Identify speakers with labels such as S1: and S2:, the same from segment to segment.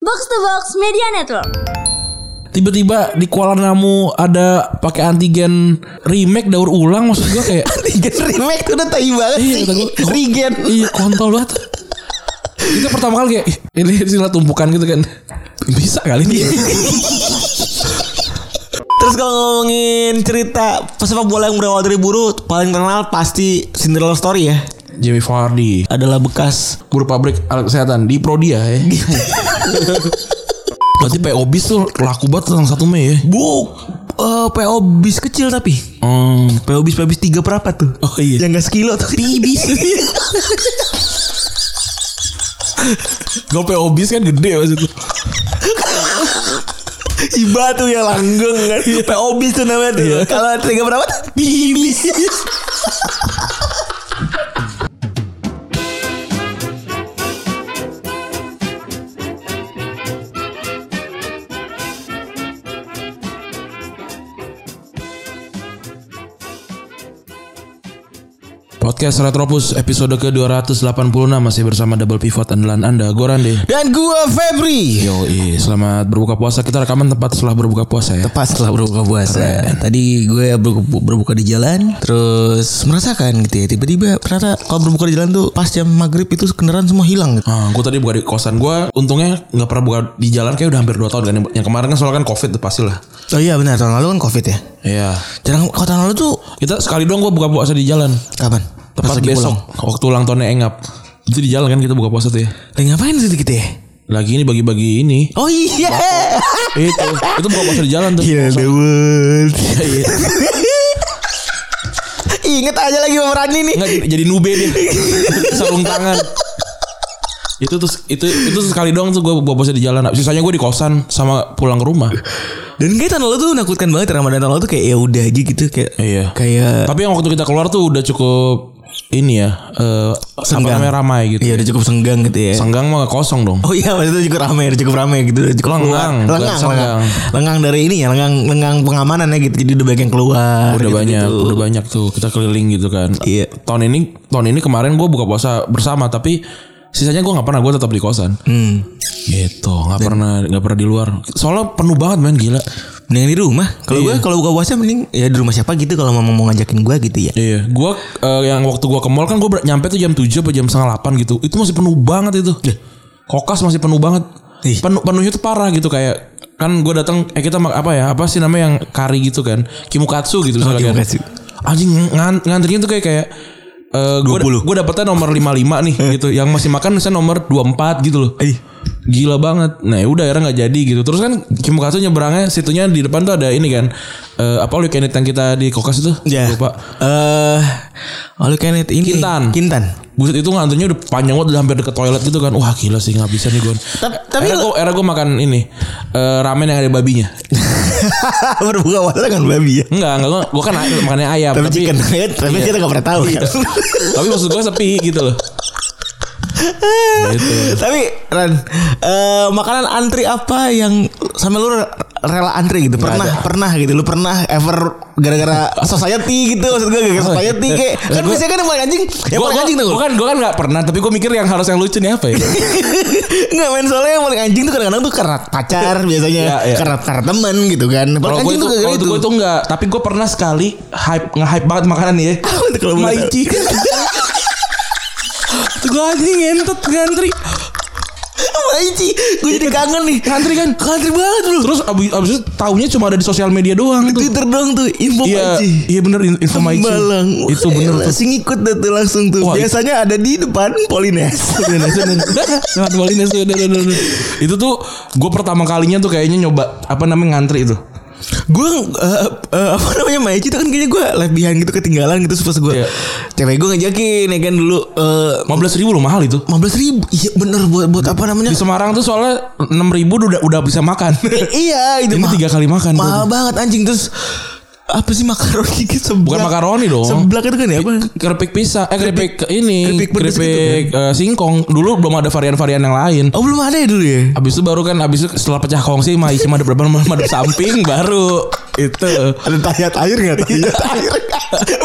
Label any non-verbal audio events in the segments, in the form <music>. S1: Box to Box Media Network.
S2: tiba-tiba di Kuala Namu ada pakai antigen remake daur ulang maksud gua <laughs> kayak
S3: Regen remake tuh udah tai banget
S2: Iya,
S3: sih.
S2: kata gua.
S3: Regen.
S2: iya kontol banget itu pertama kali kayak "Ih, ini istilah tumpukan gitu kan bisa kali <laughs> ini ya?
S3: Terus kalau ngomongin cerita pesepak bola yang berawal dari buruh paling terkenal pasti Cinderella Story ya.
S2: Jamie Vardy
S3: Adalah bekas
S2: guru pabrik alat kesehatan di Prodia <laughs> ya berarti PO bis tuh laku banget tanggal 1 Mei ya
S3: bu eh, PO bis kecil tapi
S2: hmm.
S3: PO bis PO bis tiga berapa tuh?
S2: Oh, iya.
S3: Yang gak sekilo tuh. <laughs> Iya. Bis.
S2: Gak PO bis kan gede maksudnya
S3: Iba tuh yang langgeng kan. Iya. PO bis tuh namanya tuh. Kalau tiga berapa tuh? Bis.
S2: Podcast Retropus episode ke-286 Masih bersama Double Pivot andalan anda Gue Rande
S3: Dan gua Febri.
S2: Yoi, selamat berbuka puasa. Kita rekaman tepat setelah berbuka puasa ya.
S3: Pas setelah berbuka puasa Tadi gue berbuka, berbuka di jalan Terus merasakan gitu ya Tiba-tiba ternyata kalau berbuka di jalan tuh Pas jam maghrib itu kendaraan semua hilang gitu
S2: Ah, gue tadi buka di kosan gue, untungnya nggak pernah buka di jalan kayak udah hampir 2 tahun kan. Yang- Yang kemarin kan soalnya kan covid tuh pastilah.
S3: Oh iya benar tahun lalu kan covid ya
S2: Iya.
S3: Jarang kalau tahun lalu tuh
S2: Kita sekali doang gue buka puasa di jalan.
S3: Kapan? Pas
S2: Tepat
S3: lagi
S2: besok
S3: pulang.
S2: waktu ulang tahunnya Engap. Itu di jalan kan kita buka puasa tuh ya.
S3: Lagi ngapain sih gitu ya
S2: Lagi ini bagi-bagi ini. <laughs>
S3: Oh <laughs> iya
S2: itu, itu buka puasa di jalan tuh.
S3: <laughs> Dawud
S2: Iya, iya.
S3: Ingat aja lagi sama Rani nih
S2: Nggak, jadi- jadi nube dia. Sarung tangan. Itu tuh itu itu sekali doang tuh gue buka puasa di jalan. Sisanya gue di kosan sama pulang ke rumah.
S3: Dan kayak tahun lalu tuh nakutkan banget Ramadan tahun lalu tuh kayak ya udah aja gitu Kayak
S2: Iya.
S3: Kayak
S2: Tapi yang waktu kita keluar tuh udah cukup ini ya, eh apa
S3: Senggang.
S2: namanya ramai gitu.
S3: Iya udah cukup senggang gitu ya
S2: Senggang mah nggak kosong dong.
S3: Oh iya maksudnya cukup ramai, udah cukup ramai gitu, udah cukup
S2: Lengang,
S3: keluar.
S2: bukan
S3: lengang, lengang,
S2: senggang.
S3: lengang dari ini ya, lengang, lengang pengamanannya gitu, jadi udah banyak yang keluar.
S2: udah
S3: gitu,
S2: banyak,
S3: gitu.
S2: udah banyak tuh kita keliling gitu kan.
S3: Iya.
S2: Tahun ini, tahun ini kemarin gue buka puasa bersama, tapi sisanya gue nggak pernah, gue tetap di kosan.
S3: Hmm.
S2: Gitu, nggak pernah, nggak pernah di luar. Soalnya penuh banget men gila.
S3: Mendingan di rumah. Kalau gue kalau buka puasa mending ya di rumah siapa gitu kalau mama mau ngajakin gue gitu ya.
S2: Iya, gua eh, yang waktu gua ke mall kan gua ber- nyampe tuh jam 7 apa jam setengah 8 gitu. Itu masih penuh banget itu. Kokas masih penuh banget.
S3: Iya. Ih.
S2: Penuh penuhnya tuh parah gitu kayak kan gua datang eh kita mak- apa ya? Apa sih namanya yang kari gitu kan? Kimukatsu gitu misalnya kan.
S3: Oh, kimukatsu.
S2: Anjing ngan- ngantrinya tuh kayak kayak eh gua
S3: 20.
S2: gua dapetnya nomor 55 nih
S3: <laughs>
S2: gitu. Yang masih makan misalnya nomor 24 gitu loh.
S3: Ih.
S2: Gila banget. Nah, udah akhirnya nggak jadi gitu. Terus kan Kimukatsu nyeberangnya situnya di depan tuh ada ini kan. Eh apa lu yang kita di kokas itu?
S3: Ya.
S2: Lupa.
S3: Eh, lalu kayaknya ini
S2: Kintan.
S3: Kintan.
S2: Buset itu ngantrinya udah panjang banget udah hampir deket toilet gitu kan. Wah gila sih nggak bisa nih gue.
S3: Tap- tapi
S2: era
S3: lu-
S2: gue era gue makan ini eh, ramen yang ada babinya.
S3: <laughs>
S2: <laughs>
S3: Berbuka puasa kan babi ya.
S2: Enggak enggak gue kan ay- makannya ayam
S3: Tapi,
S2: tapi
S3: chicken nugget, tapi kita gak pernah tahu kan.
S2: tapi maksud gue sepi gitu loh. gitu.
S3: tapi Ran, eh, makanan antri apa yang sama lu rela antri gitu? Pernah, pernah gitu. Lu pernah ever gara-gara society gitu maksud gue gara-gara society kayak kan
S2: Gua-
S3: biasanya kan yang paling anjing, yang
S2: Gue
S3: paling <laughs> anjing tuh.
S2: gue kan gue kan nggak pernah tapi gue mikir yang harus yang lucu nih apa ya?
S3: Enggak main soalnya yang paling anjing tuh kadang-kadang tuh karena
S2: <laughs>
S3: pacar biasanya,
S2: Iya, iya.
S3: karena karena teman gitu kan. Paling
S2: Kalau gue
S3: anjing
S2: itu
S3: tuh gara-gara
S2: kalau
S3: itu.
S2: gue itu enggak tapi gue pernah sekali hype nge hype banget makanan nih ya.
S3: Apa tuh kalau boleh tahu?
S2: Maici. <laughs> Gue anjing ngentet ngantri.
S3: Maici, gue jadi kangen nih.
S2: Ngantri kan?
S3: Ngantri banget lu.
S2: Terus abis, abis itu taunya cuma ada di sosial media doang tuh.
S3: Twitter doang tuh info
S2: Iya,
S3: Maici.
S2: iya bener in- info Maici.
S3: Malang.
S2: Itu bener tuh.
S3: Langsung ngikut dah tuh langsung tuh.
S2: Wah,
S3: Biasanya ada di depan Polines. <laughs> iya.
S2: Lewat Molina tuh, udah, udah, udah, udah. iya, Itu tuh gue pertama kalinya tuh kayaknya nyoba apa namanya ngantri itu.
S3: gue eh, eh, apa namanya Maici tuh kan kayaknya gue left behind gitu ketinggalan gitu terus pas gue
S2: Iya.
S3: cewek gue ngajakin ya kan dulu eh
S2: 15 ribu loh mahal itu.
S3: 15 ribu Iya bener buat, buat apa namanya
S2: Di Semarang tuh soalnya
S3: <laughs>
S2: 6 ribu udah udah bisa makan.
S3: Iya
S2: Ini
S3: itu mah-
S2: tiga kali gitu. makan.
S3: Mahal banget anjing terus apa sih makaroni <laughs> gitu seblak.
S2: Bukan makaroni dong.
S3: Seblak itu kan ya apa?
S2: keripik pisang eh keripik ini
S3: keripik
S2: keripik,
S3: pedes gitu
S2: eh, singkong dulu belum ada varian-varian yang lain
S3: Oh belum ada ya dulu ya?
S2: Abis itu baru kan abis itu setelah pecah kongsi mah isi madep depan madep samping baru itu
S3: Ada tayat air <laughs> nggak? Tayat air.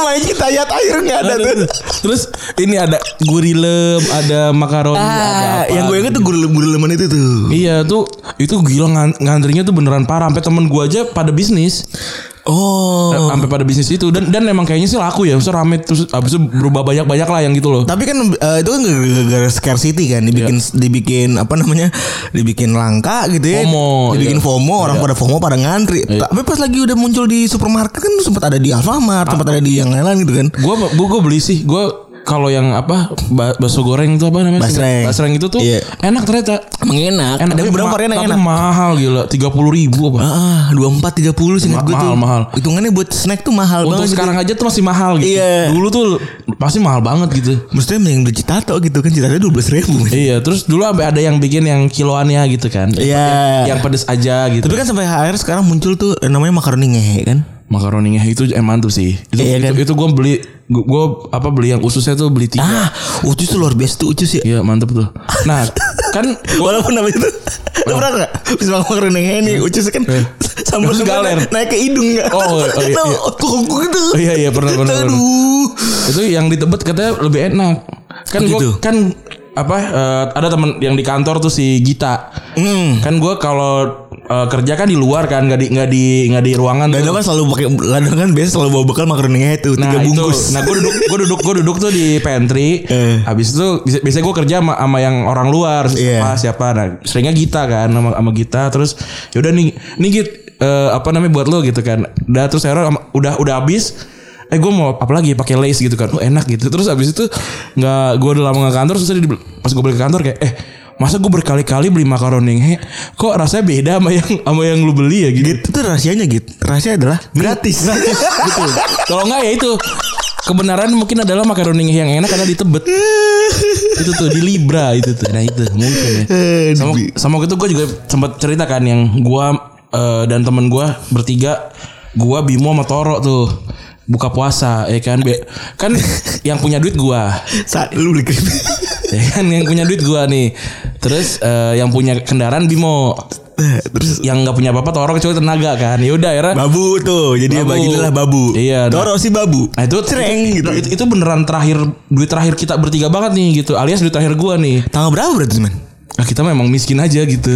S3: Maji tayat air nggak ada tuh.
S2: Nah, terus ini ada gurilem ada makaroni ada
S3: Ah,
S2: apa
S3: yang gue inget tuh gurulem gureleman itu tuh.
S2: Iya tuh itu gila ngan- ngantrinya tuh beneran parah sampai temen gue aja pada bisnis
S3: Oh.
S2: sampai pada bisnis itu dan dan emang kayaknya sih laku ya Maksudnya rame terus abis itu berubah banyak banyak lah yang gitu loh
S3: Tapi kan eh, itu kan gara-gara scarcity kan dibikin dibikin apa namanya? Dibikin langka gitu ya.
S2: FOMO,
S3: dibikin
S2: iya.
S3: FOMO, Iya. orang pada FOMO pada ngantri. Tapi pas lagi udah muncul di supermarket kan sempat ada di Alfamart, sempat ada di yang lain gitu kan.
S2: gue gue beli sih gue kalau yang apa ba- bakso goreng tuh apa namanya
S3: Basreng.
S2: basreng itu tuh
S3: Iya.
S2: enak ternyata
S3: Emang enak.
S2: enak
S3: Ada
S2: tapi
S3: beberapa
S2: ma-
S3: varian yang
S2: tapi
S3: enak.
S2: mahal gila tiga puluh ribu apa
S3: Ah, dua empat tiga puluh sih
S2: Ma-
S3: gue tuh.
S2: mahal, mahal.
S3: Hitungannya buat snack tuh mahal
S2: untuk
S3: banget. gitu.
S2: sekarang aja tuh masih mahal gitu
S3: Iya.
S2: dulu tuh pasti mahal banget gitu
S3: Maksudnya yang beli citato gitu kan citato dua belas ribu.
S2: Iya, terus dulu sampai ada yang bikin yang kiloannya gitu kan.
S3: Iya.
S2: Yang pedes aja gitu.
S3: Tapi kan sampai akhir sekarang muncul tuh eh, namanya makaroni ngehe kan.
S2: makaroninya itu emang tuh sih. Itu
S3: Iya kan?
S2: itu, itu gue beli gue, apa beli yang ususnya tuh beli tiga.
S3: Ah, ucus tuh luar biasa tuh ucus ya.
S2: Iya, mantep tuh. Nah, kan
S3: <laughs> Walaupun namanya tuh Lo pernah gak? Bisa makan makaroni ngehe nih Ucus kan Sambil
S2: Terus Hmm. galer.
S3: Naik ke hidung gak?
S2: Oh, oh, iya, iya.
S3: Kok gitu
S2: Oh, iya, iya, pernah, pernah, pernah.
S3: Aduh
S2: itu yang di Tebet katanya lebih enak. Kan gue
S3: Gitu.
S2: kan apa eh, ada temen yang di kantor tuh si Gita.
S3: Hmm
S2: Kan gue kalau eh, kerja kan di luar kan nggak di nggak di nggak di ruangan. tuh.
S3: Dadang kan selalu pakai Dadang kan biasa selalu bawa bekal makaroni ngehe tuh Tiga
S2: itu.
S3: bungkus
S2: Nah, gue duduk, gue duduk, gue duduk tuh di pantry.
S3: Eh.
S2: Habis itu bisa- biasanya gue kerja sama, sama yang orang luar,
S3: Iya.
S2: siapa siapa. Nah, seringnya Gita kan sama sama Gita. Terus yaudah nih, nih Git eh, apa namanya buat lo gitu kan. Udah terus akhirnya ama- udah udah habis. Eh gue mau apa lagi pakai lace gitu kan. Oh, enak gitu. Terus habis itu nggak gue udah lama nggak kantor. Terus tadi di- pas gue balik ke kantor kayak eh masa gue berkali-kali beli makaroni ngehe, kok rasanya beda sama yang sama yang lu beli ya gitu.
S3: Gitu tuh rahasianya gitu Rahasia adalah Gratis <laughs>
S2: Betul. Gitu. Kalau enggak ya itu kebenaran mungkin adalah makaroni yang enak karena di Tebet. itu tuh di Libra itu tuh. Nah itu mungkin ya.
S3: Eh,
S2: Sama,
S3: di-
S2: sama waktu itu gue juga sempat cerita kan yang gua eh, dan temen gua bertiga, gua Bimo sama Toro tuh buka puasa ya kan Be- kan yang punya duit gua
S3: Saat lu beli keripik <laughs>
S2: ya kan yang punya duit gua nih terus eh, yang punya kendaraan Bimo
S3: Nah, Terus
S2: yang nggak punya apa-apa Toro kecuali tenaga kan yaudah akhirnya
S3: Babu tuh Jadi
S2: Babu.
S3: bagilah babu
S2: Iya, nah.
S3: Toro si babu
S2: Nah itu
S3: Cereng
S2: itu,
S3: gitu
S2: Itu, itu beneran terakhir duit terakhir kita bertiga banget nih gitu. Alias duit terakhir gua nih.
S3: Tanggal berapa berarti men?
S2: Nah, kita memang miskin aja
S3: <laughs>
S2: gitu.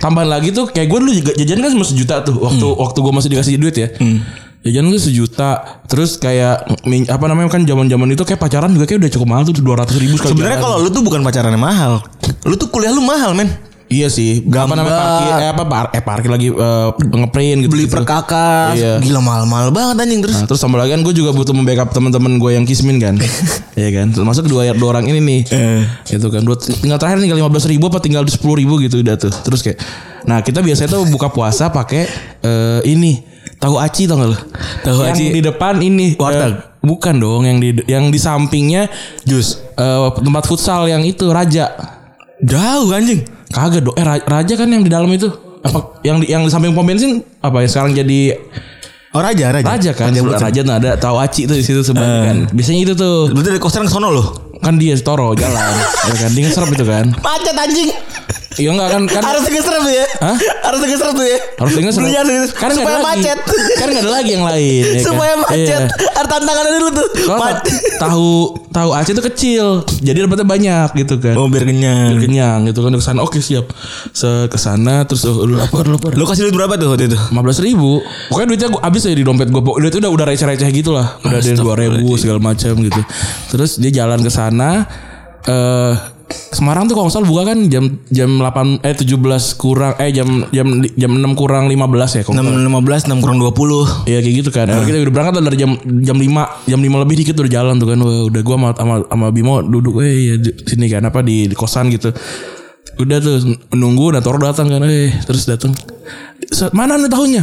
S2: Tambahan lagi tuh kayak gua dulu juga jajan kan cuma sejuta tuh waktu
S3: Hmm.
S2: waktu gua masih dikasih duit ya. Jajan gue sejuta Terus kayak min- Apa namanya kan zaman zaman itu Kayak pacaran juga kayak udah cukup mahal tuh 200 ribu sekali
S3: Sebenarnya
S2: jalan.
S3: kalau lu tuh bukan pacarannya mahal Lu tuh kuliah lu mahal men
S2: Iya sih Apa
S3: Gambar.
S2: namanya parkir Eh apa par- eh, parkir lagi eh, Ngeprint gitu
S3: beli per kakak
S2: Iya.
S3: gila mahal-mahal banget anjing terus
S2: Nah, terus sama lagi kan gue juga butuh membackup teman-teman gue yang kismin
S3: <laughs>
S2: kan. Iya kan? Termasuk dua, dua orang ini nih.
S3: Eh.
S2: Gitu kan. Dua, tinggal terakhir tinggal 15 ribu apa tinggal 10 ribu gitu udah tuh. Terus kayak Nah, kita biasanya tuh buka puasa pakai eh, ini tahu aci tau gak lo?
S3: Tahu
S2: yang
S3: aci.
S2: di depan ini
S3: Warteg.
S2: eh, bukan dong yang di yang di sampingnya
S3: jus
S2: eh, tempat futsal yang itu raja.
S3: jauh anjing
S2: Kagak dong. Eh Ra- raja kan yang di dalam itu. Apa yang di yang di samping pom bensin apa yang sekarang jadi
S3: oh raja raja
S2: Raja kan
S3: raja
S2: Raja,
S3: raja
S2: raja nah ada tahu aci tuh di situ sebenarnya kan. Biasanya itu tuh
S3: berarti dari kosan ke sono loh
S2: kan dia toro jalan ya kan dia ngeserap itu kan.
S3: macet anjing
S2: Iya enggak kan kan
S3: harus geser tuh ya
S2: Hah?
S3: harus geser tuh ya
S2: harus dengan serap.
S3: Dulunya harus geser.
S2: Kan nggak
S3: supaya
S2: ada lagi.
S3: macet
S2: Kan enggak ada lagi yang lain ya kan?
S3: <laughs> supaya macet
S2: Iya.
S3: ada tantangannya dulu tuh
S2: Kalau
S3: Mac-
S2: ta- tahu tahu aci itu kecil, jadi dapatnya banyak gitu kan.
S3: oh biar kenyang
S2: Kenyang gitu kan ke sana. Oke, siap. Se ke sana terus oh, lu lapar lapar.
S3: lu kasih duit berapa tuh waktu itu
S2: 15 ribu Pokoknya duitnya gua, abis aja di dompet gue Duit udah udah receh-receh gitu lah Udah ada dua ribu segala macam gitu Terus dia jalan ke sana eh Semarang tuh kalau nggak salah buka kan jam jam 8 eh 17 kurang eh jam jam jam 6 kurang 15 ya kalau nggak salah.
S3: 6, 15 6 kurang 20
S2: Iya kayak gitu kan. Akhirnya Kita udah berangkat lah dari jam jam 5, jam 5 lebih dikit udah jalan tuh kan. Wah, udah gua sama sama, sama Bimo duduk eh ya di sini kan apa di, di kosan gitu. Udah tuh nunggu dan Toro datang kan. Eh terus datang. "Sa- Mana nih tahunya?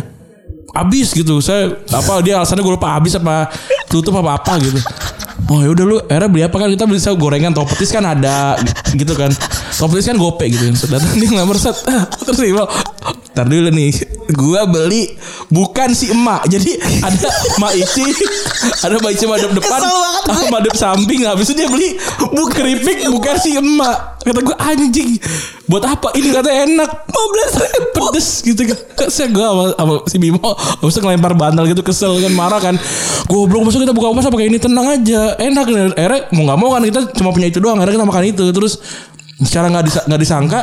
S2: Habis gitu. Saya apa dia alasannya gue lupa habis apa tutup apa apa gitu. Oh ya udah lu era beli apa kan kita beli sel gorengan tau petis kan ada gitu <laughs> kan tau petis kan gope gitu kan datang dia nggak set ah, terus dia bilang, ntar dulu nih gua beli bukan si emak. Jadi ada emak Ici, <laughs> ada emak Ici madep depan,
S3: Kesel banget
S2: <laughs> sama madep samping. Habis itu dia beli bu keripik bukan si emak. Kata gua anjing. Buat apa? Ini kata enak. 15 ribu. Pedes gitu kan. Saya gua sama, sama si Bimo habis itu ngelempar bantal gitu kesel kan marah kan. Goblok masuk kita buka puasa pakai ini tenang aja. Enak kan. Akhirnya mau nggak mau kan kita cuma punya itu doang. Akhirnya kita makan itu. Terus secara nggak disa- nggak disangka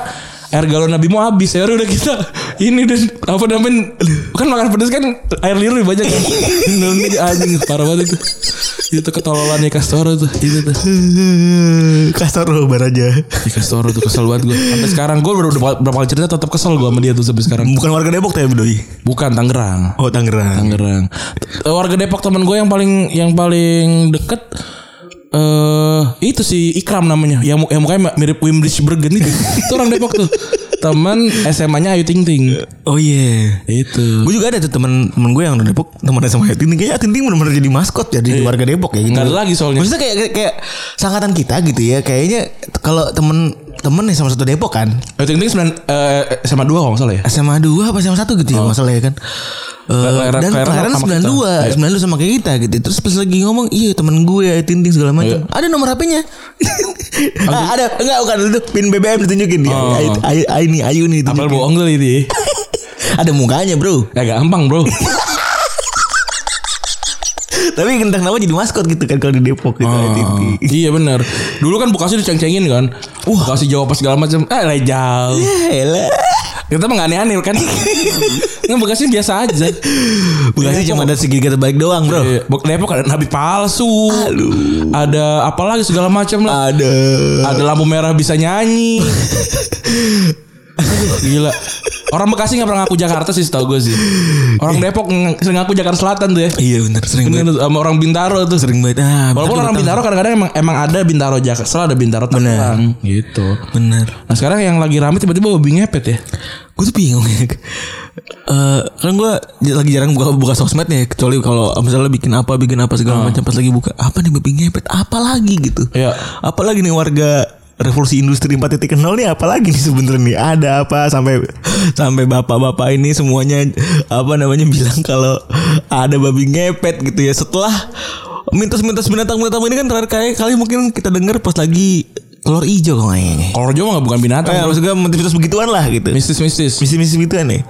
S2: air galon Nabi mau habis akhirnya udah kita <laughs> ini dan apa namanya kan makan pedas kan air liur lebih banyak kan Nanti anjing parah banget itu itu ketololannya Castoro tuh itu tuh
S3: <laughs> Kasar robar aja.
S2: di Castoro tuh kesel banget gue sampai sekarang gue udah berapa kali cerita tetap kesel gue sama dia tuh sampai sekarang
S3: Bukan warga Depok tapi doi.
S2: bukan Tangerang
S3: Oh Tangerang.
S2: Tangerang T- warga Depok teman gue yang paling yang paling deket eh itu si Ikram namanya yang, mu- yang mukanya mirip Wimbledon Bergen itu <laughs> itu orang Depok tuh teman SMA-nya Ayu Ting Ting
S3: Oh iya.
S2: itu
S3: Gue juga ada tuh temen temen gue yang dari Depok temen sama Tinting kayaknya Tinting benar-benar jadi maskot jadi
S2: Iya.
S3: di warga Depok ya gitu.
S2: Nggak ada lagi soalnya.
S3: Maksudnya kayak kayak, kayak sangkatan kita gitu ya kayaknya kalau temen temen yang sama satu Depok kan
S2: Ayu Ting Ting sembilan eh, SMA dua kalau nggak salah ya
S3: SMA 2 apa SMA 1 gitu ya masalahnya kan. Eh,
S2: Kelahiran-
S3: dan
S2: kelahiran
S3: kelahiran
S2: sama kita.
S3: 92 92 sama kayak kita gitu Terus pas lagi ngomong Iya temen gue Ayu Tinting segala macam Ada nomor HP-nya Ah, Ada Enggak bukan itu Pin BBM ditunjukin dia
S2: Oh.
S3: Ayu, Ayu, Ayu nih Ayu nih
S2: Apel
S3: ditunjukin.
S2: bohong kali dia
S3: Ada mukanya bro
S2: Ya gampang <laughs> bro
S3: Tapi entah kenapa jadi maskot gitu kan Kalau di Depok gitu Ayu Tinting.
S2: Iya bener Dulu kan Bekasi diceng-cengin kan Wah Bekasi Jawa pas segala macam Eh lah, jauh
S3: Ya elah.
S2: Kita mah nggak aneh-aneh <laughs> kan Nggak Bekasi biasa aja
S3: Bekasi cuma ada segitiga terbaik doang bro
S2: Iya, Bek- Depok ada nabi palsu. Ada apa lagi segala macam lah.
S3: Ada
S2: Ada lampu merah bisa
S3: <laughs>
S2: nyanyi. Aduh, Gila. Orang Bekasi nggak pernah ngaku Jakarta sih setahu gue sih. Orang Depok ng- sering ngaku Jakarta Selatan tuh ya.
S3: Iya bener sering banget
S2: Ini tuh, Sama orang Bintaro tuh.
S3: Sering banget ah,
S2: Walaupun
S3: bentar,
S2: orang
S3: bentar.
S2: Bintaro kadang-kadang emang, emang ada Bintaro Jakarta, ada Bintaro Tangerang gitu.
S3: Nah, Bener
S2: Nah sekarang yang lagi rame tiba-tiba babi ngepet ya.
S3: Gue tuh bingung ya. Eh, kan gue lagi jarang buka buka sosmed nih kecuali kalau misalnya bikin apa bikin apa segala macam pas lagi buka apa nih babi ngepet apa lagi gitu
S2: Iya.
S3: apa lagi nih warga revolusi industri 4.0 nih apa lagi nih sebenernya nih ada apa sampai sampai bapak-bapak ini semuanya apa namanya bilang kalau ada babi ngepet gitu ya setelah mitos-mitos binatang-binatang ini kan terakhir kali, kali mungkin kita dengar pas lagi telur hijau kalau kayaknya
S2: Kalau Jawa nggak bukan binatang.
S3: Eh, maksudnya mitos begituan lah gitu
S2: Mistis-mistis. Eh,
S3: misi-misi begituan nih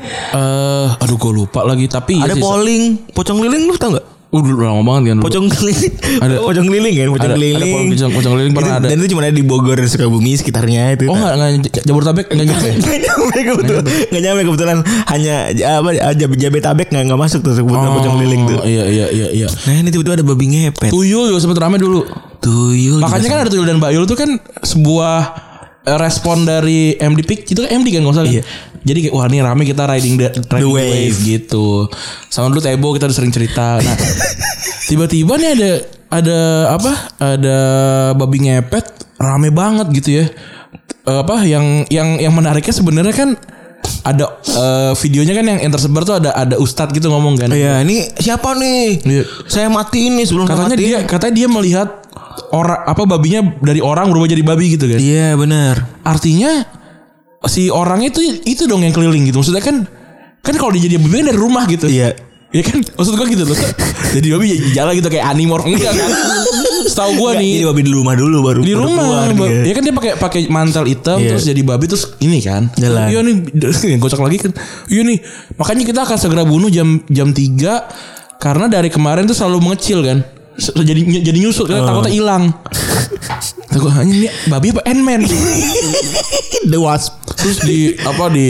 S2: aduh gue lupa lagi tapi iya
S3: ada
S2: sih,
S3: polling pocong lilin lu tau gak
S2: Uh, dulu lama banget kan.
S3: pocong lilin
S2: Ada.
S3: <laughs> pocong lilin kan pocong
S2: Ada- ada
S3: lilin
S2: pocong- pocong lilin pernah
S3: Itu-
S2: ada.
S3: dan itu cuma ada di Bogor dan Sukabumi sekitarnya itu
S2: Oh
S3: <laughs>
S2: enggak enggak J- Jabodetabek enggak nyampe.
S3: Gak nyampe kebetulan Gak nyampe kebetulan Hanya apa, jab, Jabetabek gak, gak masuk tuh Kebetulan pocong lilin tuh
S2: Oh, Iya iya iya iya.
S3: Nah ini tiba-tiba ada babi ngepet
S2: Tuyul juga sempet rame dulu.
S3: Tuyul
S2: Makanya kan ada tuyul dan bayul tuh kan sebuah eh, respon dari MD Pic itu kan MD kan nggak usah kan? Jadi kayak wah ini rame kita riding the, riding the wave.
S3: wave.
S2: gitu. Sama dulu Tebo kita udah sering cerita. <laughs> Nah, tiba-tiba nih ada ada apa? Ada babi ngepet rame banget gitu ya. Eh, apa yang yang yang menariknya sebenarnya kan ada eh, videonya kan yang, yang tersebar tuh ada ada ustadz gitu ngomong kan.
S3: Iya ini siapa nih
S2: Iya.
S3: Saya mati ini sebelum
S2: Katanya
S3: saya mati
S2: dia katanya dia melihat orang apa babinya dari orang berubah jadi babi gitu kan.
S3: Iya benar
S2: Artinya si orang itu itu dong yang keliling gitu. Maksudnya kan kan kalau dia jadi babi kan dari rumah gitu.
S3: Iya
S2: Iya kan? Maksud gua
S3: <laughs>
S2: gitu loh. jadi babi jalan gitu kayak animorph enggak kan. Setahu gua nih
S3: Jadi babi di rumah dulu baru
S2: Iya, di
S3: baru
S2: rumah
S3: keluar
S2: ba-
S3: dia.
S2: ya kan dia pakai pakai mantel hitam
S3: Iya.
S2: terus jadi babi terus ini kan
S3: Jalan.
S2: iya nih <laughs> gocok lagi kan iya nih makanya kita akan segera bunuh jam jam 3 karena dari kemarin tuh selalu mengecil kan Se- jadi jadi nyusut
S3: Eh.
S2: karena takutnya hilang takut hanya nih babi apa Ant-Man
S3: <laughs> The Wasp.
S2: terus di apa di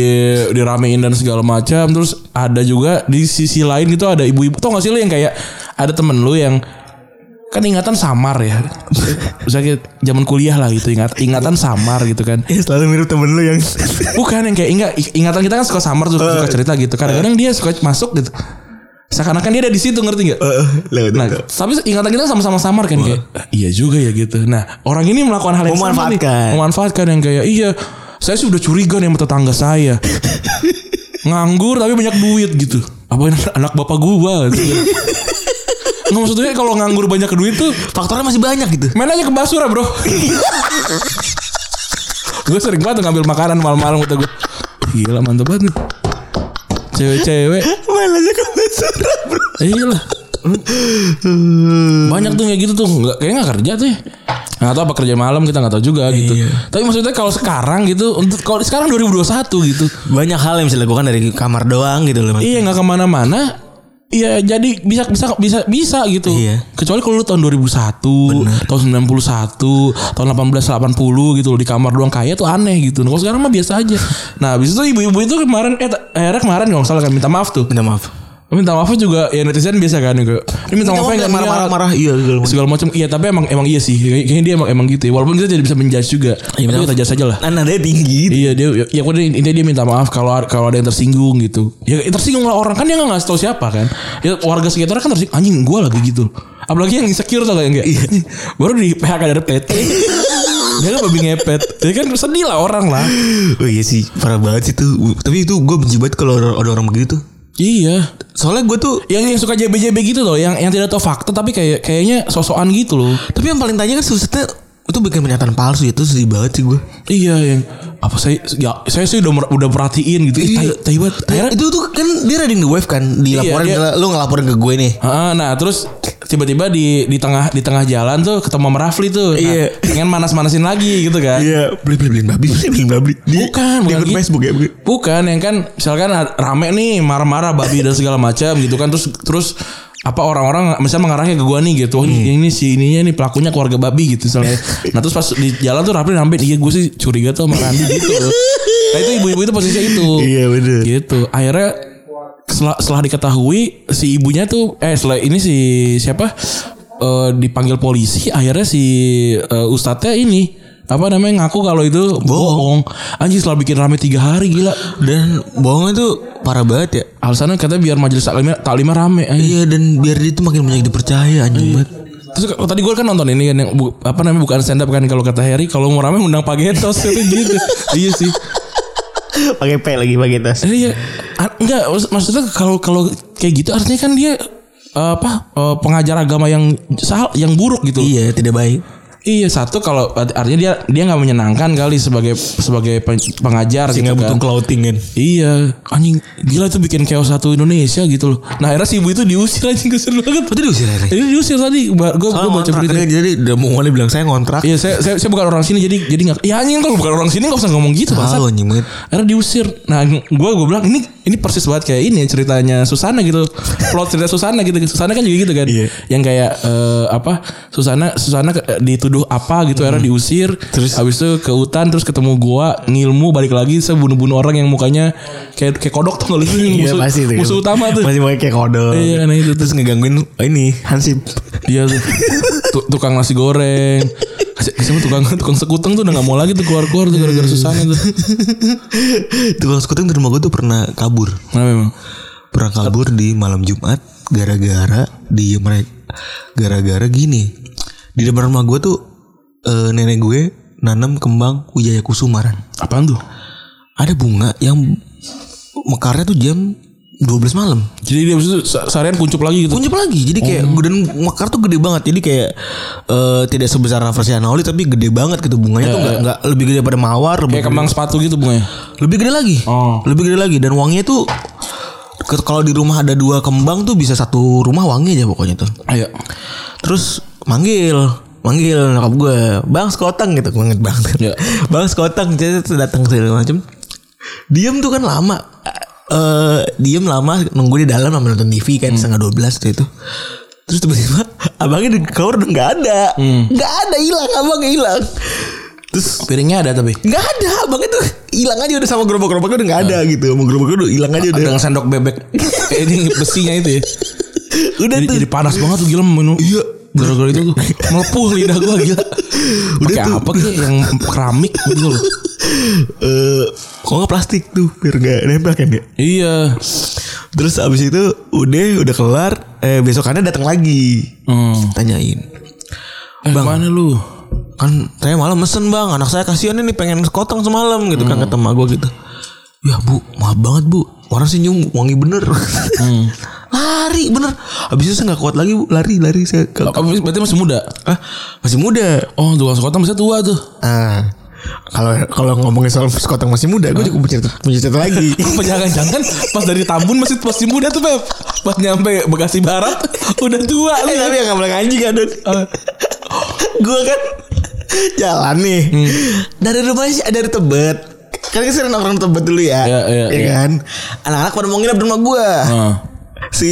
S2: diramein dan segala macam terus ada juga di sisi lain gitu ada ibu-ibu tau gak sih lu yang kayak ada temen lu yang kan ingatan samar
S3: <laughs>
S2: ya misalnya kayak zaman kuliah lah gitu ingat ingatan samar gitu kan
S3: Ya selalu mirip temen lu yang <laughs>
S2: bukan yang kayak ingat ingatan kita kan suka samar suka, suka cerita gitu kadang-kadang dia suka masuk gitu seakan-akan dia ada di situ ngerti
S3: Eh.
S2: nggak
S3: Lewat
S2: Nah, tapi ingatan kita sama-sama samar kan kayak "Ah, iya juga ya gitu. Nah, orang ini melakukan hal yang sama nih.
S3: Memanfaatkan.
S2: Memanfaatkan yang kayak iya, saya sudah curiga nih sama tetangga saya. Nganggur tapi banyak duit gitu. Apa ini anak bapak gua <laughs> gitu. Nggak maksudnya kalau nganggur banyak duit tuh
S3: Faktornya masih banyak gitu.
S2: main aja ke Basura, Bro. gue sering banget ngambil makanan malam-malam kata gue. Gila mantep banget nih. cewek-cewek
S3: Mailnya ke Basura bro
S2: iya lah banyak tuh kayak gitu tuh nggak kayak nggak kerja tuh ya. nggak tahu apa kerja malam kita nggak tahu juga gitu tapi maksudnya kalau sekarang gitu untuk kalau sekarang 2021 gitu
S3: Banyak hal yang bisa dilakukan dari kamar doang gitu loh Mas.
S2: Iya nggak kemana-mana. Iya jadi bisa bisa bisa bisa gitu.
S3: Iya.
S2: Kecuali kalau lu tahun 2001, tahun 91, tahun 1880 gitu loh di kamar doang kaya tuh aneh gitu. Nah, kalau sekarang mah biasa aja. Nah, habis itu ibu-ibu itu kemarin eh ta- akhirnya kemarin kalau nggak salah kan minta maaf tuh.
S3: Minta maaf
S2: Minta maaf juga ya netizen biasa kan gitu. Ini minta maaf enggak
S3: Minta maaf, marah-marah Iya segala macam.
S2: segala macam iya tapi emang emang iya sih Kay- kayaknya dia emang emang gitu ya. walaupun kita jadi bisa menjudge juga
S3: Iya,
S2: tapi
S3: betul.
S2: kita judge aja lah
S3: Nah, nadanya tinggi
S2: Iya dia ya udah intinya dia minta maaf kalau kalau ada yang tersinggung gitu. Ya tersinggung lah orang kan dia nggak ngasih tahu siapa kan. Ya warga sekitar kan tersinggung anjing gua lagi gitu. Apalagi yang insecure tau gak yang kayak "Anjing, baru di PHK dari PT. dia kan babi ngepet. Jadi kan sedih lah orang lah.
S3: Oh iya sih Parah banget sih tuh Tapi itu gue benci banget kalau ada ada orang begitu tuh
S2: Iya.
S3: Soalnya gue tuh
S2: Yang yang suka JBJB gitu loh, yang yang tidak tahu fakta tapi kayak kayaknya sosokan gitu loh.
S3: Tapi yang paling tanya kan susahnya Itu bikin pernyataan palsu ya Itu sedih banget sih gue
S2: Iya yang apa saya ya saya sih udah mer- udah perhatiin gitu. Ih, tai, tai banget. Akhirnya-
S3: Itu tuh kan dia ada di wave kan Dilaporin
S2: Iya, dia-
S3: Lu ngelaporin ke gue nih
S2: Ah, nah terus tiba-tiba di di tengah di tengah jalan tuh ketemu sama Rafli tuh. Nah,
S3: Iya.
S2: Pengen manas-manasin lagi gitu kan.
S3: Iya, beli beli beli babi, beli beli babi. Di,
S2: Bukan,
S3: di
S2: bukan
S3: grup
S2: gitu.
S3: Facebook ya. Bu-
S2: Bukan yang kan misalkan ad- rame nih marah-marah babi dan segala macam gitu kan terus terus apa orang-orang misalnya mengarahnya ke gua nih gitu Wah,
S3: Hmm.
S2: ini si ininya nih pelakunya keluarga babi gitu misalnya nah terus pas di jalan tuh Rafli nampin iya gue sih curiga tuh sama Randi gitu nah itu ibu-ibu itu posisinya itu
S3: Iya, bener.
S2: gitu akhirnya setelah, setelah diketahui si ibunya tuh eh setelah ini si siapa eh, dipanggil polisi akhirnya si eh, ustadznya ini apa namanya ngaku kalau itu bohong. Anjing setelah bikin rame tiga hari gila.
S3: Dan bohongnya tuh parah banget ya.
S2: Alasannya katanya biar majelis taklim taklimnya rame. anjing.
S3: Iya, dan biar dia tuh makin banyak dipercaya anjing banget.
S2: Terus kalau tadi gue kan nonton ini kan yang bu- apa namanya bukan stand up kan kalau kata Harry kalau mau rame undang pagetos itu <laughs> gitu. iya sih.
S3: Pakai P lagi pakai tas.
S2: Eh, Iya, A- enggak maksud- maksudnya kalau kalau kayak gitu artinya kan dia eh, apa eh, pengajar agama yang sal yang buruk gitu.
S3: Iya, tidak baik.
S2: Iya satu kalau art- artinya dia dia nggak menyenangkan kali sebagai sebagai pen- pengajar gitu
S3: Sehingga
S2: kan.
S3: butuh clothing kan.
S2: Iya, anjing gila itu bikin chaos satu Indonesia gitu loh. Nah akhirnya si ibu itu diusir anjing kesel banget.
S3: Betul diusir akhirnya.
S2: Ini diusir tadi, gue gue baca
S3: Soalnya ngontrak,
S2: berita.
S3: dia- Jadi udah mau mulai bilang saya ngontrak.
S2: Iya, saya, saya, saya bukan orang sini jadi jadi nggak. Ya anjing kalau bukan orang sini nggak usah ngomong gitu, Pak.
S3: Tahu anjing banget.
S2: Akhirnya diusir. Nah, gua gua bilang ini ini persis banget kayak ini ceritanya Susana gitu. Plot cerita Susana gitu. Susana kan juga gitu kan.
S3: Iya.
S2: Yang kayak eh, apa? Susana Susana ke- eh, dituduh apa gitu akhirnya diusir.
S3: Hmm. Terus?
S2: habis itu ke hutan terus ketemu gua ngilmu balik lagi sebunuh-bunuh orang yang mukanya kayak kayak kodok tuh lagi musuh,
S3: itu.
S2: musuh utama tuh.
S3: Iya, Masih pakai kayak kodok.
S2: Iya, nah itu tuh.
S3: Terus ngegangguin "Oh, ini Hansip. <laughs>
S2: Dia Iya tuh tu- tukang nasi goreng. Kasih tukang tukang sekuteng tuh udah gak mau lagi tuh keluar-keluar tuh gara-gara Susana tuh.
S3: Tukang skuting di rumah gue tuh pernah kabur.
S2: Kenapa memang?
S3: Pernah kabur di malam Jumat gara-gara di mereka gara-gara gini. Di depan rumah gue tuh eh, nenek gue nanam kembang Wijaya Kusumaran.
S2: Apaan tuh?
S3: Ada bunga yang mekarnya tuh jam 12 malam.
S2: Jadi dia abis itu se- seharian kuncup lagi gitu.
S3: Kuncup lagi. Jadi kayak dan mekar tuh gede banget. Jadi kayak eh, tidak sebesar versi Anoli tapi gede banget gitu bunganya tuh nggak nggak lebih gede pada mawar, lebih
S2: Iya, Kayak kembang sepatu gitu bunganya.
S3: lebih gede lagi
S2: Oh.
S3: lebih gede lagi dan wanginya tuh ke- kalau di rumah ada dua kembang tuh bisa satu rumah wangi aja pokoknya tuh
S2: Ayo.
S3: terus manggil manggil nyokap gue bang sekoteng gitu gue inget banget
S2: Ya.
S3: <laughs> bang sekoteng jadi tuh datang segala macem diem tuh kan lama eh diem lama nunggu di dalam sama nonton TV
S2: Hmm.
S3: kan setengah dua belas itu terus tiba-tiba <laughs> abangnya di kamar udah nggak ada
S2: Hmm.
S3: nggak ada hilang abangnya hilang terus
S2: Piringnya ada tapi.
S3: Gak ada abang itu hilang aja udah sama gerobak-gerobaknya udah gak ada
S2: Hmm.
S3: gitu Sama gerobaknya udah hilang aja udah
S2: Dengan sendok <laughs> bebek. eh, ini besinya itu ya.
S3: Udah
S2: Jadi,
S3: tuh
S2: jadi panas banget tuh gila minum.
S3: Iya.
S2: Gara-gara itu tuh <laughs> melepuh lidah gua gila.
S3: Udah
S2: Pakai
S3: tuh.
S2: apa kayak yang keramik gitu loh.
S3: Eh, Kok gak plastik tuh biar gak nempel kan ya
S2: Iya.
S3: Terus abis itu udah udah kelar eh, Besokannya datang lagi
S2: Hmm.
S3: Tanyain
S2: Eh, mana lu?
S3: Kan saya malam mesen bang Anak saya kasihan nih pengen sekotong semalam gitu kan Kata emak gue gitu Ya bu maaf banget bu Orang senyum wangi bener Hmm. <laughs> Lari bener Abis itu saya gak kuat lagi bu Lari lari saya ke-
S2: Apa- Berarti masih muda.
S3: Ah, Masih muda
S2: <laughs> Oh, tukang sekoteng masih tua tuh.
S3: Ah. Kalau kalau ngomongin soal sekotong masih muda, gue cukup punya cerita, punya cerita lagi.
S2: Jangan-jangan Kan pas dari Tambun masih masih muda tuh Beb. Pas nyampe Bekasi Barat <laughs> udah tua
S3: <laughs>
S2: lu.
S3: Eh, tapi yang boleh anjing kan Dun. Gue kan jalan nih
S2: Hmm.
S3: dari rumahnya sih- dari tebet kan kita sering nongkrong di tebet dulu ya
S2: Iya, iya,
S3: ya
S2: iya.
S3: kan anak-anak pada mau nginep di rumah gue
S2: Heeh.
S3: si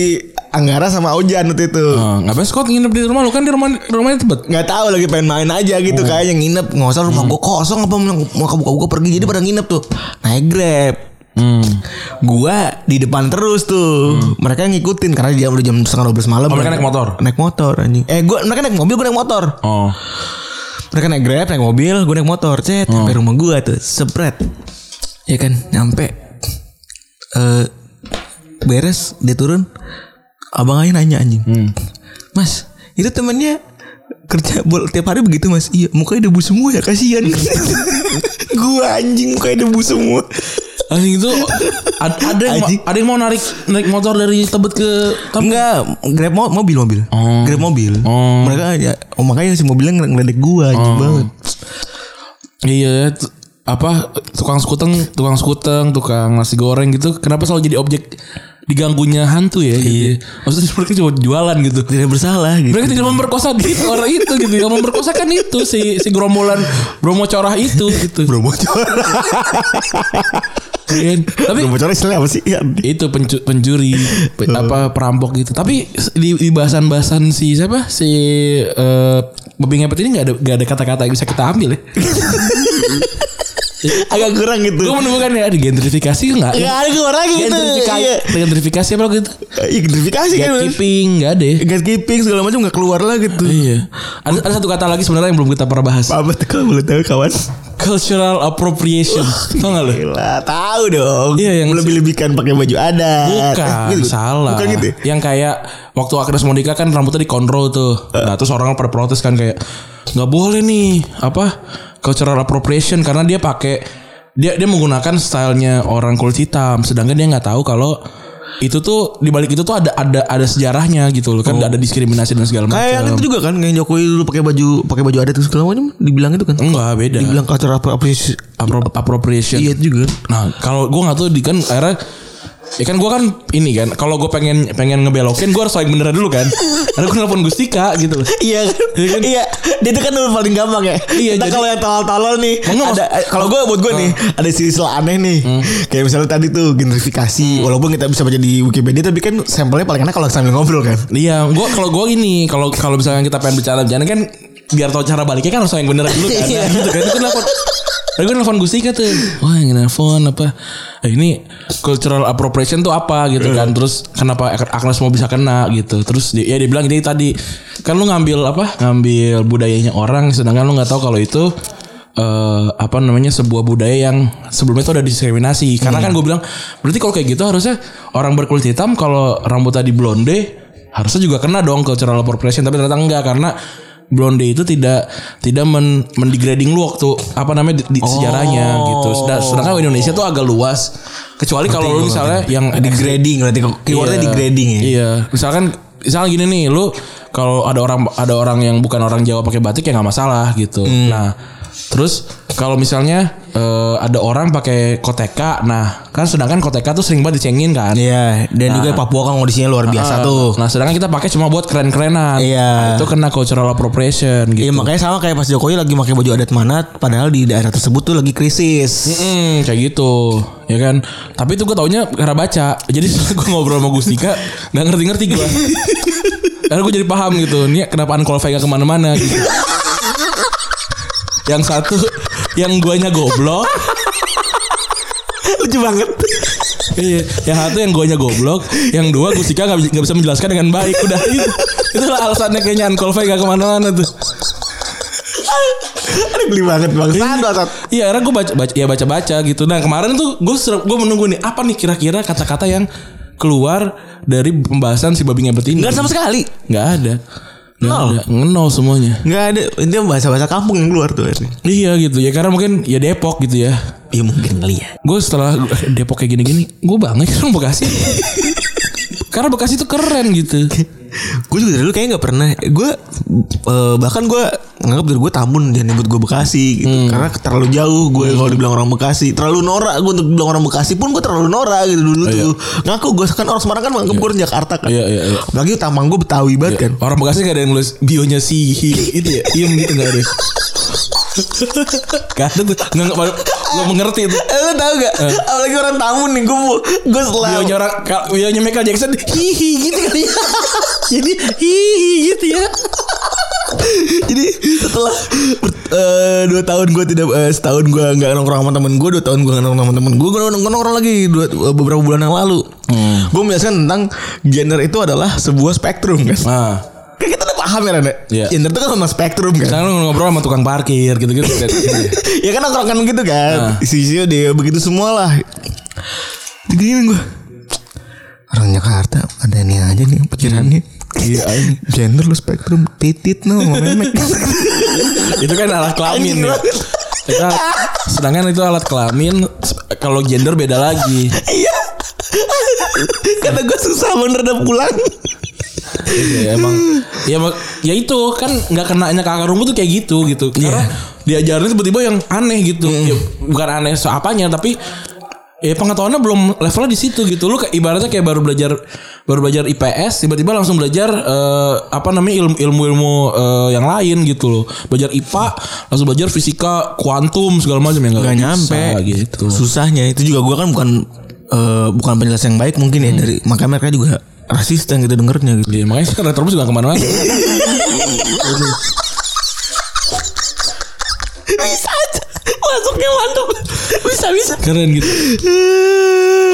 S3: Anggara sama Ojan waktu itu
S2: Heeh, ah, ngapain Scott nginep di rumah lu kan di rumah rumahnya tebet.
S3: nggak tahu lagi pengen main aja gitu
S2: Hmm.
S3: kayaknya nginep nggak usah rumah gue kosong apa mau mau kebuka-buka pergi jadi pada nginep tuh naik grab
S2: Hmm.
S3: gua di depan terus tuh mereka ngikutin karena dia udah jam setengah 12 malam
S2: Oh, mereka naik motor?
S3: naik motor anjing eh gua mereka naik mobil gua naik motor
S2: Oh.
S3: mereka naik grab naik mobil gua naik motor cet sampai rumah gua tuh spread ya kan nyampe eh beres dia turun abang aja nanya anjing mas itu temennya kerja bol tiap hari begitu mas iya mukanya debu semua ya <laughs> kasihan gua anjing mukanya debu semua
S2: Anjing itu <laughs> ad- ada yang ma-
S3: Anjing.
S2: ada yang mau narik naik motor dari tebet ke Tambun.
S3: Enggak, grab mo- mobil mobil.
S2: Oh.
S3: Grab mobil.
S2: Oh.
S3: Mereka ya, oh makanya si mobilnya ngel- ngeledek gua anjing banget.
S2: Iya, t- apa tukang skuteng, tukang skuteng, tukang nasi goreng gitu. Kenapa selalu jadi objek diganggunya hantu ya? Iya. Maksudnya mereka cuma jualan gitu.
S3: Tidak bersalah gitu.
S2: Mereka tidak memperkosa di <laughs> orang itu gitu. Yang memperkosa kan itu si si gerombolan Bromo Corah itu gitu.
S3: Bro bocor.
S2: Iya. Tapi
S3: Bro bocor istilahnya apa sih? Ya,
S2: itu pencu- pencuri pe- apa perampok gitu. Tapi di, di bahasan-bahasan si siapa si eh Bebing Ngepet ini nggak ada nggak ada kata-kata yang bisa kita ambil ya.
S3: agak kurang gitu.
S2: Gue menemukan ya di gentrifikasi nggak?
S3: Gak ada keluar lagi gitu.
S2: Gentrifikasi,
S3: Iya.
S2: gentrifikasi apa gitu?
S3: Iya, Gentrifikasi kan. bener.
S2: Gatekeeping nggak ada. ya.
S3: Gatekeeping segala macam gak keluar lah gitu.
S2: Iya. Ada, ada satu kata lagi sebenarnya yang belum kita pernah bahas.
S3: Apa tuh kalau boleh tahu kawan?
S2: Cultural <laughs> appropriation. Tau gak lo?
S3: Gila, tahu dong.
S2: Iya, yang-
S3: lebih-lebihkan pakai baju adat.
S2: Bukan,
S3: Eh, gitu.
S2: salah.
S3: Bukan gitu. ya?
S2: Yang kayak waktu Agnes Monica kan rambutnya dikontrol tuh.
S3: Eh.
S2: Nah, terus orang pada protes kan kayak nggak boleh nih apa cultural appropriation karena dia pakai dia dia menggunakan stylenya orang kulit hitam sedangkan dia nggak tahu kalau itu tuh dibalik itu tuh ada ada ada sejarahnya gitu loh kan ada diskriminasi dan segala
S3: Oh. Kayak yang
S2: macam.
S3: itu juga kan kayak Jokowi dulu pakai baju pakai baju adat segala macam dibilang itu kan.
S2: Enggak beda.
S3: Dibilang culture apa apa
S2: Appro- appropriation.
S3: Iya juga.
S2: Nah kalau gue nggak tahu di kan akhirnya Ya kan gue kan ini kan Kalau gue pengen pengen ngebelokin Gue harus paling beneran dulu kan Karena gue nelfon Gustika gitu loh
S3: Iya kan? Iya. Dia itu kan nomor paling gampang ya.
S2: Iya,
S3: Entah
S2: jadi-
S3: kalau yang tolol-tolol nih
S2: Enggak,
S3: ada eh, Oh. Hmm.
S2: maksud-
S3: kalau gue buat gue nih ada silsilah aneh nih. Kayak misalnya tadi tuh gentrifikasi. Walaupun kita bisa baca di Wikipedia tapi kan sampelnya paling enak kalau sambil ngobrol kan.
S2: Iya gue kalau gue ini Kalau kalau misalkan kita pengen bercanda-bercanda kan Biar tau cara baliknya kan harus yang beneran dulu kan
S3: Iya.
S2: Nah, gitu kan Itu nelfon Lalu gue nelfon Gustika tuh Wah yang nelfon apa eh, Ini cultural appropriation tuh apa gitu kan Terus kenapa Ag- Agnes mau bisa kena gitu Terus dia, ya dia bilang jadi tadi Kan lu ngambil apa Ngambil budayanya orang Sedangkan lu gak tahu kalau itu eh apa namanya sebuah budaya yang sebelumnya itu ada diskriminasi karena kan gue bilang berarti kalau kayak gitu harusnya orang berkulit hitam kalau rambut tadi blonde harusnya juga kena dong cultural appropriation tapi ternyata enggak karena blonde itu tidak tidak men mendegrading lu waktu apa namanya di, di sejarahnya gitu Sedang- sedangkan Indonesia tuh agak luas kecuali kalau lu misalnya yang
S3: Degrading berarti keywordnya
S2: Iya.
S3: degrading ya.
S2: Iya, misalkan misalkan gini nih, lu kalau ada orang ada orang yang bukan orang Jawa pakai batik ya nggak masalah gitu.
S3: Hmm.
S2: Nah, terus kalau misalnya eh, ada orang pakai koteka, nah kan sedangkan koteka tuh sering banget dicengin kan.
S3: Iya, dan juga Papua kan kondisinya luar biasa tuh.
S2: Nah, sedangkan kita pakai cuma buat keren-kerenan.
S3: Iya.
S2: Nah, itu kena cultural appropriation gitu.
S3: Iya makanya sama kayak pas Jokowi lagi pakai baju adat mana padahal di daerah tersebut tuh lagi krisis.
S2: Mm, kayak gitu ya kan tapi itu gue taunya karena baca jadi setelah gue ngobrol sama Gustika nggak ngerti-ngerti gue karena gue jadi paham gitu nih kenapa uncall Vega kemana-mana gitu yang satu yang guanya goblok
S3: <laughs> Lucu <laughs> banget.
S2: iya yang satu yang guanya goblok yang dua Gustika nggak bi- nggak bisa menjelaskan dengan baik udah itu itulah alasannya kayaknya uncall Vega kemana-mana tuh
S3: Ada geli banget bang. Sadar,
S2: Iya, akhirnya gue baca, baca ya baca baca gitu. Nah kemarin tuh gue gue menunggu nih apa nih kira-kira kata-kata yang keluar dari pembahasan si babi ngepet ini.
S3: Enggak sama sekali.
S2: Nggak ada. Nggak
S3: Nol.
S2: ada. Ngenol semuanya.
S3: Enggak ada. Ini bahasa-bahasa kampung yang keluar tuh. akhirnya.
S2: Iya gitu ya karena mungkin ya Depok gitu ya. eh,
S3: Iya mungkin kali ya.
S2: Gue setelah Depok kayak gini-gini, gue banget orang Bekasi. Ka- <laughs> Karena Bekasi tuh keren gitu.
S3: gue juga dari dulu kayaknya nggak pernah gue eh, bahkan gue nganggap dari gue Tambun jangan nyebut gue Bekasi gitu
S2: Hmm.
S3: karena terlalu jauh gue kalau dibilang orang Bekasi terlalu norak gue untuk bilang orang Bekasi pun gue terlalu norak gitu dulu
S2: Iya.
S3: tuh ngaku gue kan orang Semarang kan menganggap gue orang Jakarta kan
S2: Iya, iya, iya.
S3: apalagi tamang gue Betawi banget kan
S2: Orang Bekasi gak ada yang nulis bionya si itu ya. Iem gitu gak ada. <laughs> Gak ada tuh. Nggak- nggak- nggak mengerti itu.
S3: eh, lo tau gak apalagi orang Tambun nih gue gue selalu
S2: Bionya orang ka- bionya Michael Jackson hihi gitu kali ya. <laughs> Jadi hihi gitu ya.
S3: Jadi setelah ber- eh, dua tahun gue tidak eh, setahun gue nggak nongkrong sama temen gue dua tahun gue nggak nongkrong sama temen gue gue nongkrong, nongkrong lagi dua, eh, beberapa bulan yang lalu gue menjelaskan tentang gender itu adalah sebuah spektrum kan
S2: Nah,
S3: Kayak kita udah paham ya Rene
S2: Iya.
S3: gender itu kan sama spektrum kan
S2: sekarang lu ngobrol sama tukang parkir gitu-gitu. kayak gitu ya.
S3: ya kan nongkrongan gitu kan
S2: Nah.
S3: isi-isinya dia begitu semua lah diginin gue orang Jakarta ada ini aja nih pikirannya
S2: Iya, anjing.
S3: gender lu spektrum titit no sama memek
S2: itu kan alat kelamin
S3: Anjing
S2: ya.
S3: banget.
S2: Kita, sedangkan itu alat kelamin sp- kalau gender beda lagi.
S3: Iya. <laughs> Kata gue susah bener udah pulang.
S2: ya, emang ya emang- ya itu kan nggak kenanya ke akar rumput tuh kayak gitu gitu karena diajarin tiba-tiba yang aneh gitu Ya, bukan aneh soapanya tapi ya pengetahuannya belum levelnya di situ gitu lu kayak ibaratnya kayak baru belajar baru belajar IPS tiba-tiba langsung belajar eh, apa namanya ilmu ilmu ilmu yang lain gitu loh belajar IPA langsung belajar fisika kuantum segala macam ya
S3: Gak
S2: bisa
S3: nyampe
S2: gitu
S3: Oh. Susahnya itu juga gue kan bukan eh, bukan penjelasan yang baik mungkin ya dari makanya mereka juga rasis yang kita dengernya gitu.
S2: Iya, makanya sih kan retrobus juga kemana-mana
S3: Bisa aja. Masuknya mantap. <laughs> Bisa bisa.
S2: keren gitu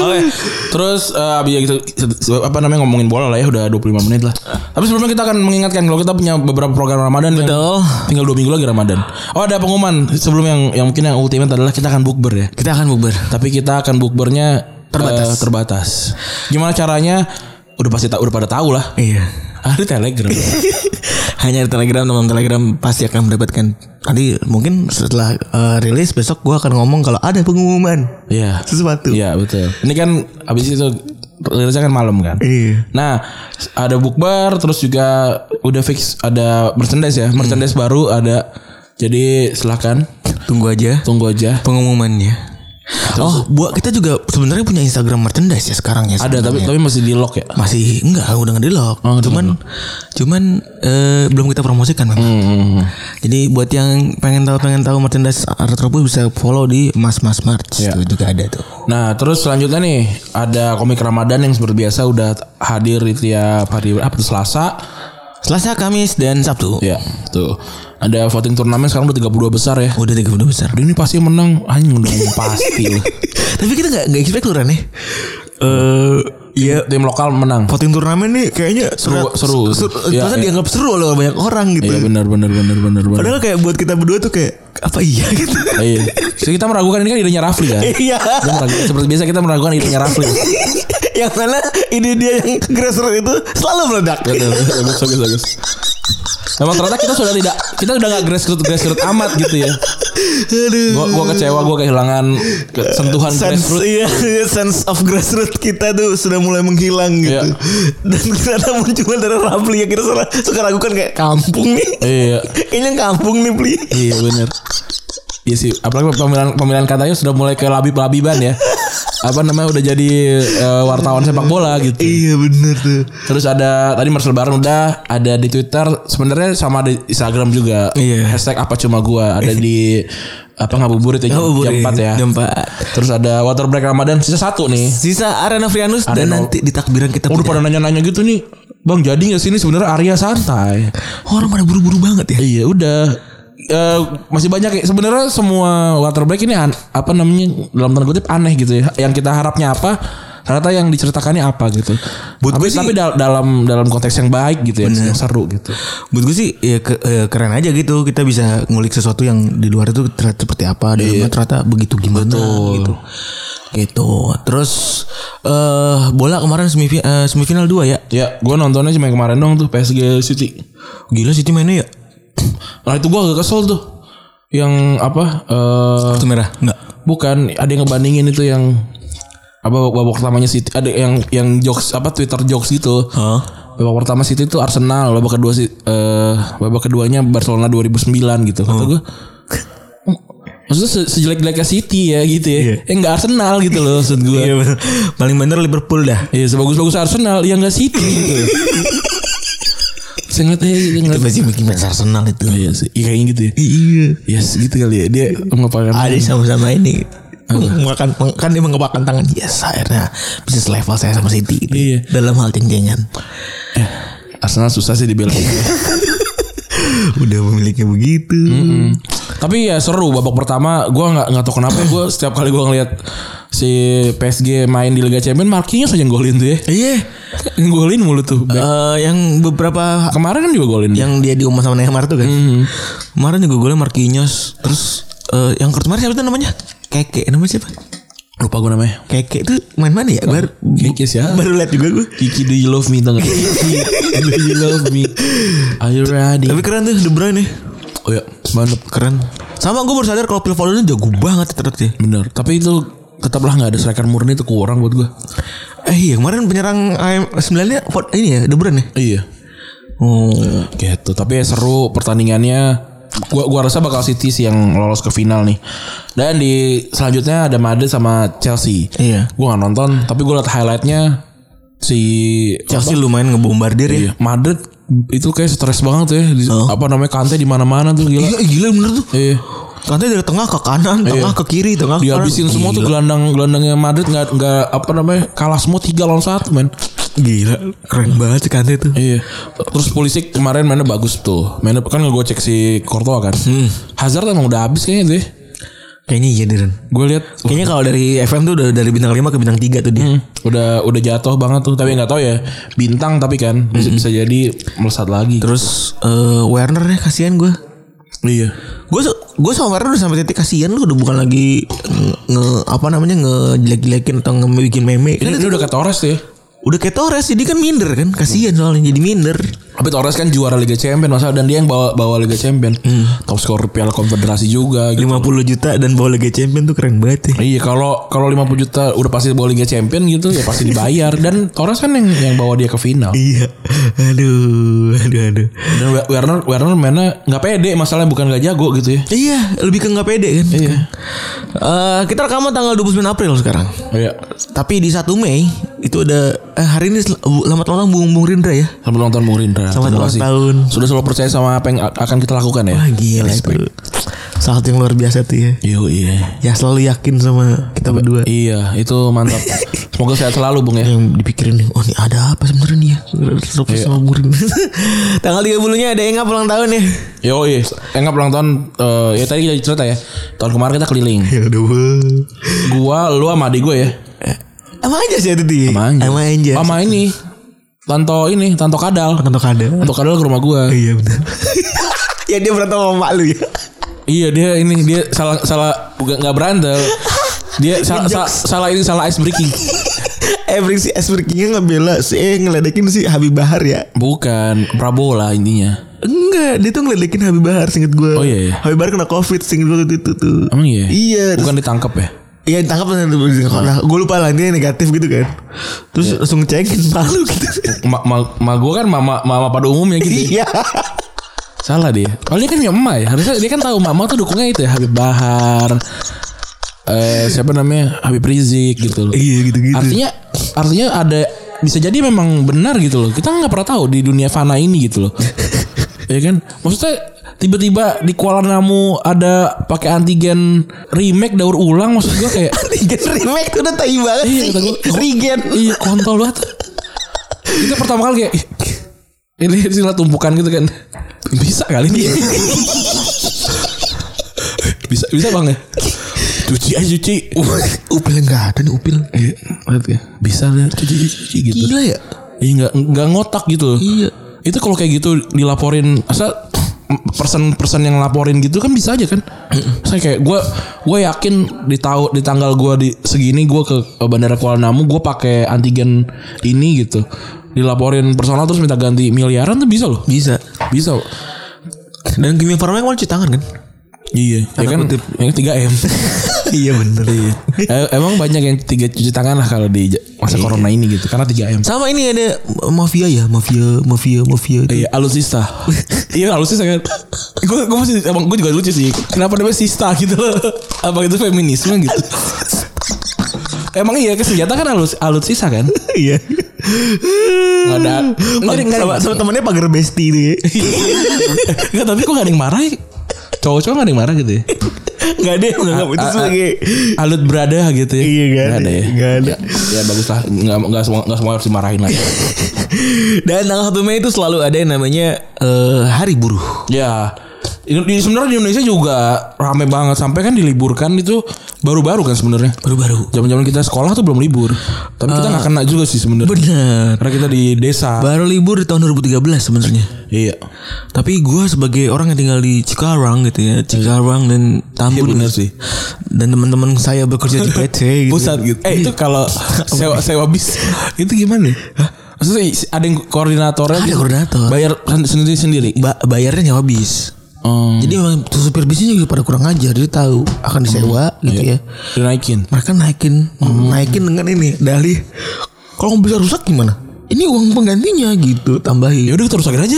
S2: Oke, terus eh, abis ya gitu se- apa namanya ngomongin bola lah ya udah 25 menit lah. Tapi sebelumnya kita akan mengingatkan kalau kita punya beberapa program Ramadan yang
S3: Betul.
S2: tinggal dua minggu lagi Ramadan. Oh ada pengumuman sebelum yang yang mungkin yang ultimate adalah kita akan bukber ya.
S3: Kita akan bubar.
S2: Tapi kita akan bukbernya
S3: Terbatas.
S2: eh, terbatas. Gimana caranya? Udah pasti tak udah pada tahu lah.
S3: Iya.
S2: Ada Telegram.
S3: <laughs> Hanya di Telegram teman Telegram pasti akan mendapatkan tadi mungkin setelah eh, rilis besok gue akan ngomong kalau ada pengumuman
S2: Iya.
S3: sesuatu.
S2: Iya betul. Ini kan abis itu rilisnya kan malam kan.
S3: Iya.
S2: Nah ada bukber terus juga udah fix ada merchandise ya merchandise
S3: Hmm.
S2: baru ada. Jadi silahkan
S3: Tunggu aja.
S2: tunggu aja.
S3: pengumumannya. oh, buat kita juga sebenarnya punya Instagram merchandise ya sekarang ya.
S2: Ada tapi
S3: sebenarnya.
S2: tapi masih di lock ya.
S3: masih enggak udah nggak di lock.
S2: Oh, udah
S3: cuman cuman eh, belum kita promosikan memang.
S2: Hmm,
S3: Jadi buat yang pengen tahu pengen tahu merchandise Retropus bisa follow di Mas Mas Merch
S2: Iya.
S3: itu juga ada tuh.
S2: Nah terus selanjutnya nih ada komik Ramadan yang seperti biasa udah hadir di tiap hari apa tuh Selasa.
S3: Selasa, Kamis dan Sabtu.
S2: Ya tuh ada voting turnamen sekarang udah 32 besar ya.
S3: Udah tiga udah
S2: <laughs>
S3: besar.
S2: Aduh, Ini pasti menang anjing udah pasti.
S3: <laughs>
S2: lah.
S3: Tapi kita nggak nggak expect loh Rane. Eh ya
S2: Tim lokal menang.
S3: voting turnamen nih kayaknya
S2: Seru-
S3: serat-
S2: seru.
S3: seru-
S2: Iya,
S3: ternyata
S2: iya.
S3: dianggap seru oleh banyak orang gitu.
S2: Iya benar benar benar benar benar.
S3: Padahal kayak buat kita berdua tuh kayak apa iya gitu.
S2: Iya. So, kita meragukan ini kan idenya Rafli kan.
S3: <laughs> Iya.
S2: Kita meragukan- Seperti biasa kita meragukan idenya Rafli.
S3: <laughs> yang mana ide dia yang grassroots itu selalu meledak. gitu.
S2: Betul, bagus bagus bagus. Memang ternyata kita sudah tidak kita udah nggak grassroots grassroots amat gitu ya.
S3: Aduh.
S2: Gua gua kecewa gua kehilangan ke- sentuhan
S3: Sense,
S2: grassroots.
S3: iya, iya, sense of grassroots kita tuh sudah mulai menghilang gitu.
S2: Iya.
S3: Dan ternyata muncul dari Rafli yang kita suka, suka ragukan kayak kampung nih. <laughs>
S2: Iya.
S3: Kayaknya kampung nih beli.
S2: Iya benar. Iya sih, apalagi pemilihan pemilihan katanya sudah mulai ke labib-labiban ya. Apa namanya udah jadi eh, wartawan sepak bola gitu.
S3: Iya bener tuh.
S2: Terus ada tadi Marcel Barn udah ada di Twitter, sebenarnya sama di Instagram juga.
S3: Iya.
S2: Hashtag apa cuma gua ada di apa ngabuburit ya jam, jam 4 ya.
S3: Jam 4.
S2: Terus ada water break Ramadan sisa satu nih.
S3: Sisa Arena Frianus dan
S2: Arena-
S3: nanti di takbiran kita
S2: Udah
S3: punya-
S2: pada nanya-nanya gitu nih. Bang jadi gak sih ini sebenarnya Arya santai?
S3: Orang pada buru-buru banget ya.
S2: Iya udah. Eh, masih banyak ya sebenarnya semua water break ini an- apa namanya dalam tanda kutip aneh gitu ya yang kita harapnya apa ternyata yang diceritakannya apa gitu
S3: Buat
S2: tapi
S3: gue sih-
S2: tapi dal- dalam dalam konteks yang baik gitu ya yang seru gitu
S3: Menurut gue sih ya ke- eh, keren aja gitu kita bisa ngulik sesuatu yang di luar itu ternyata seperti apa di dalamnya ternyata begitu gimana gitu. Gitu. Terus eh bola kemarin semifinal, semifinal 2 ya.
S2: Ya, gue nontonnya cuma yang kemarin dong tuh PSG City.
S3: Gila City mainnya ya.
S2: Nah itu gue agak kesel tuh. Yang apa? eh
S3: Kartu merah. Enggak.
S2: bukan ada yang ngebandingin itu yang apa babak pertamanya City ada yang yang jokes apa Twitter jokes gitu.
S3: Hah?
S2: Babak pertama City itu Arsenal, babak kedua si- eh babak keduanya Barcelona 2009 gitu. Kata gue Maksudnya se- sejelek-jeleknya City ya gitu ya.
S3: Iya.
S2: Eh enggak Arsenal gitu loh maksud gue.
S3: Iya bener. Paling bener Liverpool dah.
S2: Iya sebagus-bagus Arsenal yang enggak City gitu. Saya ngeliat eh, gitu, ngeliat.
S3: pasti bikin fans Arsenal itu.
S2: Iya sih, iya, kayaknya gitu ya.
S3: Iya.
S2: Yes gitu kali ya. Dia ngapain?
S3: Ada sama-sama ini. Makan, kan dia mengepakkan tangan Yes akhirnya Bisnis level saya sama City gitu.
S2: Iya.
S3: Dalam hal ceng-cengan
S2: Arsenal susah sih dibela.
S3: Udah pemiliknya begitu
S2: Tapi ya seru babak pertama gua nggak nggak tahu kenapa ya, gua setiap kali gua ngeliat si PSG main di Liga Champions markingnya saja golin tuh ya. <laughs>
S3: Iya
S2: Golin mulu tuh. Back.
S3: Eh, Yang beberapa
S2: Kemarin kan juga golin. dia.
S3: Yang dia diumum sama Neymar tuh kan
S2: Mm-hmm.
S3: Kemarin juga golnya Marquinhos Terus eh, Yang kemarin siapa tuh namanya? Keke Namanya siapa?
S2: Lupa gue namanya.
S3: Keke tuh main mana ya? Baru,
S2: Keke siapa?
S3: Baru lihat juga gue
S2: Kiki do you love me <laughs> tau gak? Kiki do you love me? Are you ready?
S3: Tapi keren tuh De Bruyne
S2: oh ya mantep
S3: Keren Sama gue baru sadar kalau Phil Foden jago banget ternyata
S2: bener. Tapi itu tetaplah nggak ada striker murni itu kurang buat gua.
S3: Eh iya kemarin penyerang AM 9 nya Fod- ini ya De Bruyne ya?
S2: Iya.
S3: Oh.
S2: Gitu. Tapi ya seru pertandingannya. Gua gua rasa bakal City sih yang lolos ke final nih. Dan di selanjutnya ada Madrid sama Chelsea.
S3: Iya.
S2: Gua nggak nonton, tapi gua liat highlightnya si
S3: Chelsea lumayan ngebombardir ya.
S2: Iya, Madrid itu kayak stres banget ya. Di- Apa namanya Kante di mana-mana tuh gila.
S3: Oh. Iya gila bener tuh.
S2: Iya.
S3: Kante dari tengah ke kanan, tengah ke kiri, tengah ke kanan.
S2: Dihabisin semua tuh gelandang-gelandangnya Madrid nggak nggak apa namanya kalah semua tiga lawan satu men.
S3: Gila, keren banget sih Kante tuh.
S2: Iya. Terus Pulisic kemarin mainnya bagus tuh. Mainnya kan ngegocek si Courtois kan.
S3: Hmm.
S2: Hazard emang udah habis kayaknya tuh. Ya.
S3: Kayaknya iya Diren.
S2: Gue lihat
S3: Kayaknya kalau dari FM tuh udah dari bintang 5 ke bintang 3 tuh dia.
S2: Hmm, udah udah jatuh banget tuh tapi nggak tahu ya bintang tapi kan bisa, bisa jadi melesat lagi
S3: Terus eh, Werner ya kasihan gue.
S2: iya
S3: Gue gue sama Werner udah sampai titik kasihan lu udah bukan lagi nge, nge- apa namanya ngejelek-jelekin atau ngebikin meme.
S2: ini,
S3: Kan
S2: ini udah ke Torres tuh ya
S3: udah kayak Torres jadi kan minder kan kasihan soalnya jadi minder.
S2: tapi Torres kan juara Liga Champions masa dan dia yang bawa bawa Liga Champions top skor Piala Konfederasi juga gitu
S3: 50 juta dan bawa Liga Champion tuh keren banget ya.
S2: Iya kalau kalau 50 juta udah pasti bawa Liga Champion gitu ya pasti dibayar <laughs> dan Torres kan yang yang bawa dia ke final.
S3: Iya. Aduh, aduh, aduh.
S2: Dan Wer- Werner Werner mainnya nggak pede masalahnya bukan nggak jago gitu ya.
S3: Iya, lebih ke nggak pede kan.
S2: Iya.
S3: Eh, kita rekaman tanggal 29 April sekarang.
S2: Iya.
S3: Tapi di 1 Mei itu ada eh, hari ini sel- bu- selamat ulang tahun Bung Bung Rindra ya.
S2: Selamat ulang tahun Bung Rindra.
S3: Selamat
S2: Terima
S3: ulang
S2: kasih.
S3: tahun.
S2: Sudah selalu percaya sama apa yang a- akan kita lakukan ya.
S3: Wah, Ah, gila itu. Saat yang luar biasa tuh ya.
S2: Yo iya.
S3: Ya selalu yakin sama kita berdua.
S2: Iya, itu mantap. Semoga sehat selalu, Bung ya.
S3: Yang dipikirin nih, oh ini ada apa sebenarnya nih ya? Terus sama Bung Rindra. <laughs> tanggal 30-nya ada Enggak ulang tahun ya.
S2: Yo, iya. Enggak ulang tahun eh, ya tadi kita cerita ya. Tahun kemarin kita keliling.
S3: Ya udah.
S2: Gua, lu sama adik gue ya.
S3: Emang Eh, aja sih itu di.
S2: Sama Anjas.
S3: Emang aja.
S2: Sama ini. Tanto ini, Tanto Kadal.
S3: Untuk ada.
S2: Tanto Kadal ke rumah gua.
S3: Iya benar. <laughs> ya dia berantem sama mak lu ya.
S2: Iya, dia ini dia salah salah bukan enggak berantem. Dia salah salah, salah ini salah ice breaking.
S3: Every si Asperkingnya ngebela si eh, ngeledekin si Habib Bahar ya.
S2: Bukan Prabowo lah intinya.
S3: Enggak, dia tuh ngeledekin Habib Bahar singkat gue.
S2: Oh, iya, iya.
S3: Habib Bahar kena Covid singkat gue itu tuh.
S2: Emang iya?
S3: Iya, terus
S2: Bukan ditangkap ya?
S3: iya ditangkap nah, gue lupa lah dia negatif gitu kan. Terus langsung cekin malu gitu.
S2: Ma, ma, ma gua kan mama mama pada umumnya gitu. ya.
S3: <laughs> Iya.
S2: Salah dia. Oh dia kan punya emak ya. Harusnya dia kan tahu mama tuh dukungnya itu ya Habib Bahar. Eh siapa namanya? Habib Rizik gitu loh.
S3: Iya gitu-gitu.
S2: Artinya artinya ada bisa jadi memang benar gitu loh. Kita nggak pernah tahu di dunia fana ini gitu loh. ya kan? Maksudnya tiba-tiba di Kuala Namu ada pakai antigen remake daur ulang maksud gua kayak
S3: Regen remake tuh udah tai banget
S2: Iya,
S3: sih.
S2: kata gua.
S3: Regen.
S2: iya kontol banget. Itu pertama kali kayak "Ih, ini sila tumpukan gitu kan. Bisa kali ini. <laughs> bisa bisa bang ya. Cuci aja cuci.
S3: Upil enggak ada nih upil.
S2: Iya, lihat ya. Bisa lihat cuci cuci, cuci gitu.
S3: Gila ya.
S2: Iya nggak nggak ngotak gitu.
S3: Iya.
S2: Itu kalau kayak gitu dilaporin masa person-person yang laporin gitu kan bisa aja kan. Saya kayak gue gue yakin di tahu di tanggal gue di segini gue ke bandara Kuala Namu gue pakai antigen ini gitu. Dilaporin personal terus minta ganti miliaran tuh bisa loh.
S3: Bisa.
S2: Bisa.
S3: Dan Kimi Farma kemarin cuci tangan kan?
S2: Iya, ya kan
S3: <laughs> kutip.
S2: yang 3 M.
S3: <laughs> iya bener.
S2: Eh, Emang banyak yang tiga cuci tangan lah kalau di j- masa
S3: Iya.
S2: corona ini gitu. Karena 3 M.
S3: Sama ini ada mafia ya, mafia, mafia, mafia. <laughs>
S2: Iya, alusista. iya, alusista kan. Gue gue masih emang gue juga lucu sih. Kenapa namanya sista gitu loh? Apa itu feminisme gitu? Emang iya kesenjata kan alus alutsista kan?
S3: Iya.
S2: Enggak ada.
S3: Hmm.
S2: Enggak ada.
S3: Pag-
S2: nggak
S3: sama,
S2: ada-
S3: sama temannya pagar besti itu ya.
S2: <laughs> Enggak, tapi kok gak ada yang marah ya? Cowok-cowok gak ada yang marah gitu ya?
S3: Enggak <laughs> ada yang menganggap itu
S2: A- a-
S3: sebagai
S2: Alut berada gitu ya?
S3: Iya gak
S2: Nggak
S3: ada,
S2: ya?
S3: nggak ada.
S2: Ya, ya bagus lah. Gak, semua, nggak semua harus dimarahin lah. ya.
S3: Dan tanggal 1 Mei itu selalu ada yang namanya eh, Hari Buruh.
S2: ya. Ini- Di, sebenarnya di Indonesia juga rame banget sampai kan diliburkan itu baru-baru kan sebenarnya.
S3: Baru-baru.
S2: Zaman-zaman kita sekolah tuh belum libur. Tapi kita nggak kena juga sih sebenarnya.
S3: Eh, Bener.
S2: Karena kita di desa.
S3: Baru libur di tahun 2013 sebenarnya.
S2: iya.
S3: Tapi gue sebagai orang yang tinggal di Cikarang gitu ya, Cikarang dan Tambun
S2: Iya, bener sih.
S3: Dan teman-teman saya bekerja di <laughs> PT gitu.
S2: Pusat gitu. Eh itu
S3: <laughs>
S2: kalau sewa sewa bis itu gimana? Hah? Maksudnya ada yang koordinatornya?
S3: Ada
S2: gitu?
S3: koordinator.
S2: Bayar sendiri sendiri.
S3: Ba- bayarnya nyawa bis. Jadi memang supir bisnya juga pada kurang ajar, jadi tahu akan disewa gitu ya.
S2: dinaikin.
S3: Mereka naikin, naikin dengan ini dalih. Kalau bisa rusak gimana? Ini uang penggantinya gitu,
S2: Ya
S3: tambahin.
S2: udah kita rusakin aja.